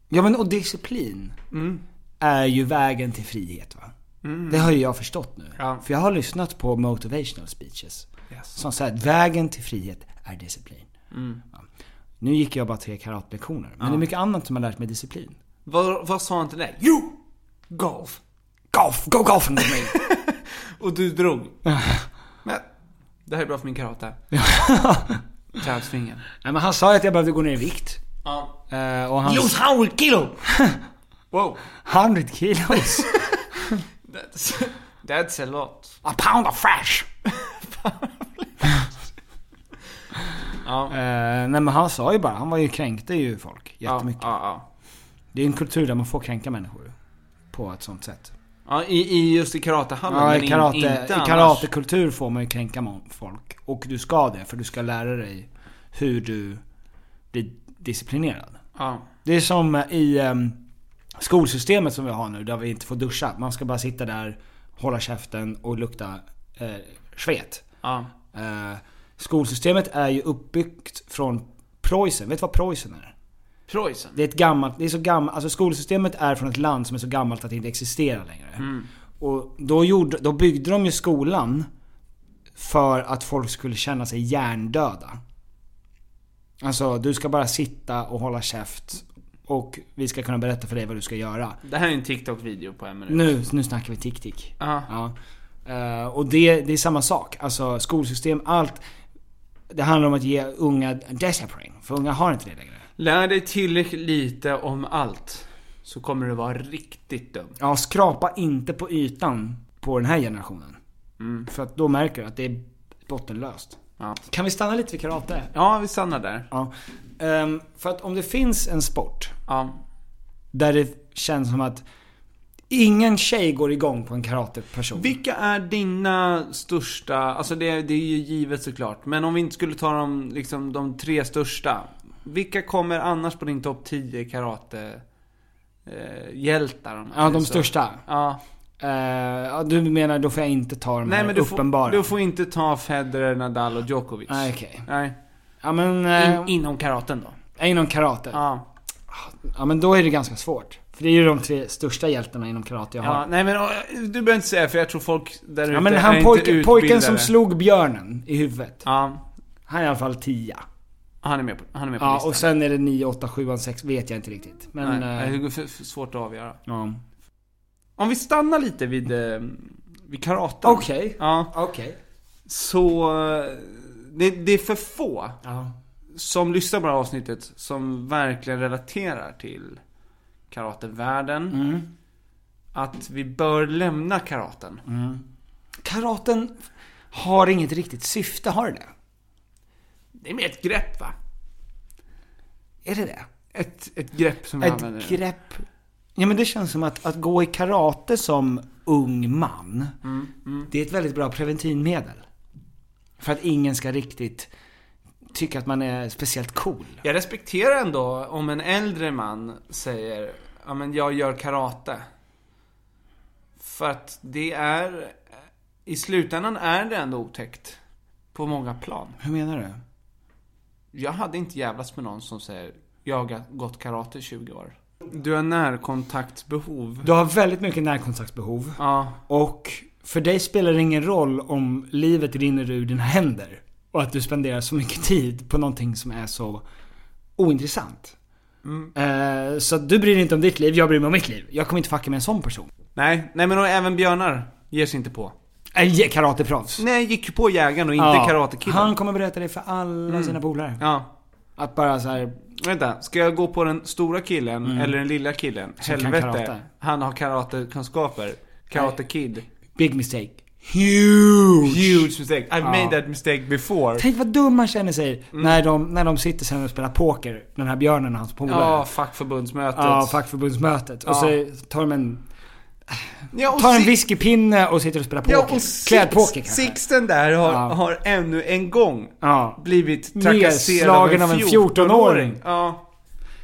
C: Ja men och disciplin
B: Mm.
C: är ju vägen till frihet va?
B: Mm.
C: Det har ju jag förstått nu.
B: Ja.
C: För jag har lyssnat på motivational speeches.
B: Yes.
C: Som säger att vägen till frihet är disciplin.
B: Mm.
C: Nu gick jag bara tre karatlektioner. Men det är mycket annat som har lärt mig disciplin.
B: Vad, vad sa han till dig? Jo! Golf! Golf! Go golfen med mig! och du drog. Men, det här är bra för min karate. Kravsvingen.
C: Nej men han sa ju att jag behövde gå ner i vikt.
B: Ja.
C: Eh, och han...
B: Lose 100 kilo! wow.
C: 100 kilos.
B: That's, that's a lot.
C: A pound of fresh.
B: Ja.
C: Eh, nej men han sa ju bara, han var ju kränkte ju folk jättemycket.
B: Ja, ja, ja.
C: Det är en kultur där man får kränka människor. På ett sånt sätt.
B: ja i, i just i karatehallen,
C: Ja,
B: men
C: i, karate,
B: in,
C: i
B: inte annars.
C: karatekultur får man ju kränka mon- folk. Och du ska det, för du ska lära dig hur du blir disciplinerad.
B: Ja.
C: Det är som i ehm, skolsystemet som vi har nu, där vi inte får duscha. Man ska bara sitta där, hålla käften och lukta eh, svet.
B: Ja.
C: Eh, skolsystemet är ju uppbyggt från Preussen. Vet du vad Preussen är?
B: Preussen?
C: Det är ett gammalt, det är så gammalt, alltså skolsystemet är från ett land som är så gammalt att det inte existerar längre.
B: Mm.
C: Och då, gjorde, då byggde de ju skolan för att folk skulle känna sig hjärndöda. Alltså, du ska bara sitta och hålla käft och vi ska kunna berätta för dig vad du ska göra.
B: Det här är en TikTok-video på en minut.
C: Nu, nu snackar vi tick-tick.
B: Ja.
C: Eh, och det, det är samma sak. Alltså skolsystem, allt. Det handlar om att ge unga discipline. För unga har inte det längre.
B: Lär dig tillräckligt lite om allt. Så kommer du vara riktigt dum.
C: Ja, skrapa inte på ytan på den här generationen. För att då märker du att det är bottenlöst.
B: Mm. Ja.
C: Kan vi stanna lite vid karate?
B: Ja, vi stannar där.
C: Ja. Ehm, för att om det finns en sport
B: Ja.
C: där det känns som att ingen tjej går igång på en karateperson.
B: Vilka är dina största, alltså det, det är ju givet såklart, men om vi inte skulle ta de, liksom, de tre största. Vilka kommer annars på din topp 10 karate eh, hjältar? om man
C: Ja,
B: säger
C: de
B: så?
C: största.
B: Ja.
C: Eh, ja, du menar då får jag inte ta de
B: Nej
C: här
B: men du
C: uppenbara?
B: får, du får inte ta Federer, Nadal och Djokovic.
C: Nej, okej.
B: Nej.
C: Ja men... eh,
B: In, inom karaten då?
C: Inom karate? Ja.
B: Ja.
C: men då är det ganska svårt. För det är ju de tre största hjältarna inom karate jag
B: ja.
C: har.
B: Nej men eh, du behöver inte säga för jag tror folk där ute
C: Ja men
B: är
C: han
B: inte
C: pojken, pojken som
B: utbildade.
C: slog björnen i huvudet.
B: Ja.
C: Han är i alla fall 10.
B: Han är med på, han är med på
C: Ja
B: listan.
C: och sen är det 9, 8, 7, 6 vet jag inte riktigt. Men...
B: Nej,
C: eh,
B: det är för, för svårt att avgöra.
C: ja.
B: Om vi stannar lite vid, eh, vid karaten.
C: Okej.
B: Ja.
C: Okej.
B: Så... eh, Det, det är för få
C: Ja.
B: som lyssnar på det här avsnittet som verkligen relaterar till karatevärlden.
C: Mm.
B: Att vi bör lämna karaten.
C: Karaten har inget riktigt syfte, har det det?
B: Det är mer ett grepp va?
C: Är det det?
B: Ett, ett grepp som vi använder.
C: Ett grepp. Ja men det känns som att, att gå i karate som ung man,
B: Mm,
C: det är ett väldigt bra preventivmedel. För att ingen ska riktigt tycka att man är speciellt cool.
B: Jag respekterar ändå om en äldre man säger Ja men jag gör karate. För att det är... I slutändan är det ändå otäckt. På många plan.
C: Hur menar du?
B: Jag hade inte jävlats med någon som säger Jag har gått karate i 20 år. Du har närkontaktbehov.
C: Du har väldigt mycket närkontaktsbehov.
B: Ja.
C: Och för dig spelar det ingen roll om livet rinner ur dina händer. Och att du spenderar så mycket tid på någonting som är så ointressant.
B: Mm.
C: Eh, så att du bryr dig inte om ditt liv, jag bryr mig om mitt liv. Jag kommer inte fucka med en sån person.
B: Nej, nej men och även björnar ger sig inte på.
C: Äh, karateproffs.
B: Nej, gick ju på jägaren och inte
C: Ja.
B: karatekillen. Mm.
C: Han kommer berätta det för alla sina polare.
B: Ja.
C: Att bara så här,
B: Vänta, ska jag gå på den stora killen eller den lilla killen?
C: Mm. Som kan
B: Helvete.
C: karate.
B: Han har karatekunskaper. Karate kid.
C: big mistake. Huge!
B: Huge mistake. I've
C: Ja.
B: made that mistake before.
C: Tänk vad dum man känner sig
B: Mm.
C: när, de, när de sitter sen och spelar poker, den här björnen och hans polare.
B: Ja, Ah, fuck förbundsmötet.
C: Ja, fackförbundsmötet. Och så tar de en,
B: Ja, och
C: tar en
B: si-
C: whiskypinne och sitter och spelar poker.
B: Ja, och Six-
C: Klädpoker kanske.
B: Sixten där har,
C: Ja.
B: har ännu en gång
C: Ja.
B: blivit
C: Nedslagen
B: trakasserad
C: av en 14-åring.
B: Ja.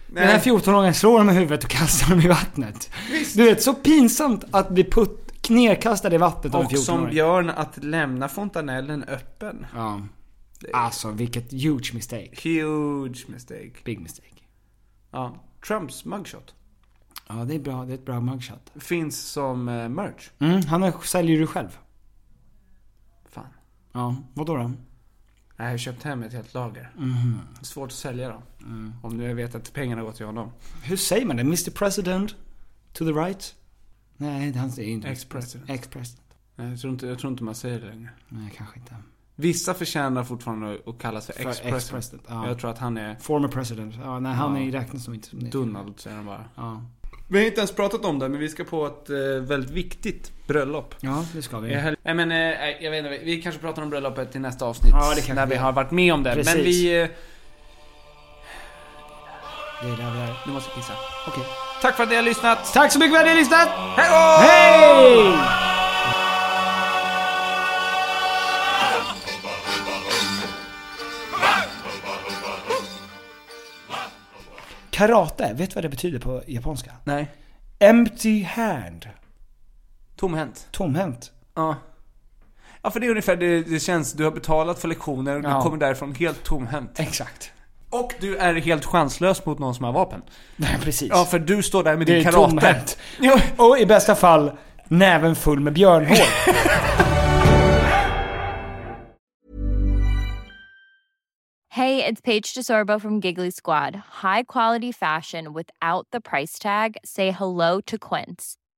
B: Nej.
C: Den här 14-åringen slår dem i huvudet och kastar dem i vattnet. Du vet, så pinsamt att bli putt, knedkastad i vattnet av en
B: och som
C: 14-åring.
B: björn att lämna fontanellen öppen.
C: Ja. Alltså vilket huge mistake.
B: Huge mistake.
C: Big mistake.
B: Ja. Trumps mugshot.
C: Ja, det är bra. Det är ett bra mugshot.
B: Finns som eh, merch.
C: Mm, han har- säljer ju själv.
B: Fan.
C: Ja, vadå då?
B: Jag har köpt hem ett helt lager.
C: Mhm.
B: Svårt att sälja dem. Om nu jag vet att pengarna går till honom.
C: Hur säger man det? Mr President? To the right? Nej, han säger
B: Mm.
C: inte
B: Ex-president.
C: Ex-president.
B: Nej, Jag tror, inte, jag tror inte man säger det längre.
C: Nej, kanske inte.
B: Vissa förtjänar fortfarande att kallas för
C: För
B: ex-president.
C: ex-president, ja.
B: Jag tror att han är...
C: Former president. Ja, nej, han
B: Ja.
C: är räknas som inte som det.
B: Donald säger de bara.
C: Ja.
B: Vi har inte ens pratat om det, men vi ska på ett eh, väldigt viktigt bröllop.
C: Ja, det ska vi.
B: Eh, hel- Nej men, eh, nej, jag vet inte. Vi kanske pratar om bröllopet till nästa avsnitt.
C: Ja, det kanske
B: när vi
C: vi-
B: har varit med om det.
C: Precis.
B: Men vi... eh,
C: Det är där vi är.
B: Nu måste jag pissa. Okej. Tack för att ni har lyssnat!
C: Tack så mycket för att ni har lyssnat!
B: Hej då!
C: Hej! Karate, vet du vad det betyder på japanska?
B: Nej.
C: Empty hand.
B: Tomhänt.
C: Tomhänt.
B: Ja. Ja för det är ungefär det det känns. Du har betalat för lektioner och du
C: Ja.
B: kommer därifrån helt tomhänt.
C: Exakt.
B: Och du är helt chanslös mot någon som har vapen.
C: Nej, precis.
B: Ja för du står där med
C: det
B: din
C: är
B: karate.
C: tomhänt.
B: Ja.
C: Och i bästa fall, näven full med björnhår.
K: Hey, it's Paige DeSorbo from Giggly Squad. High quality fashion without the price tag. Say hello to Quince.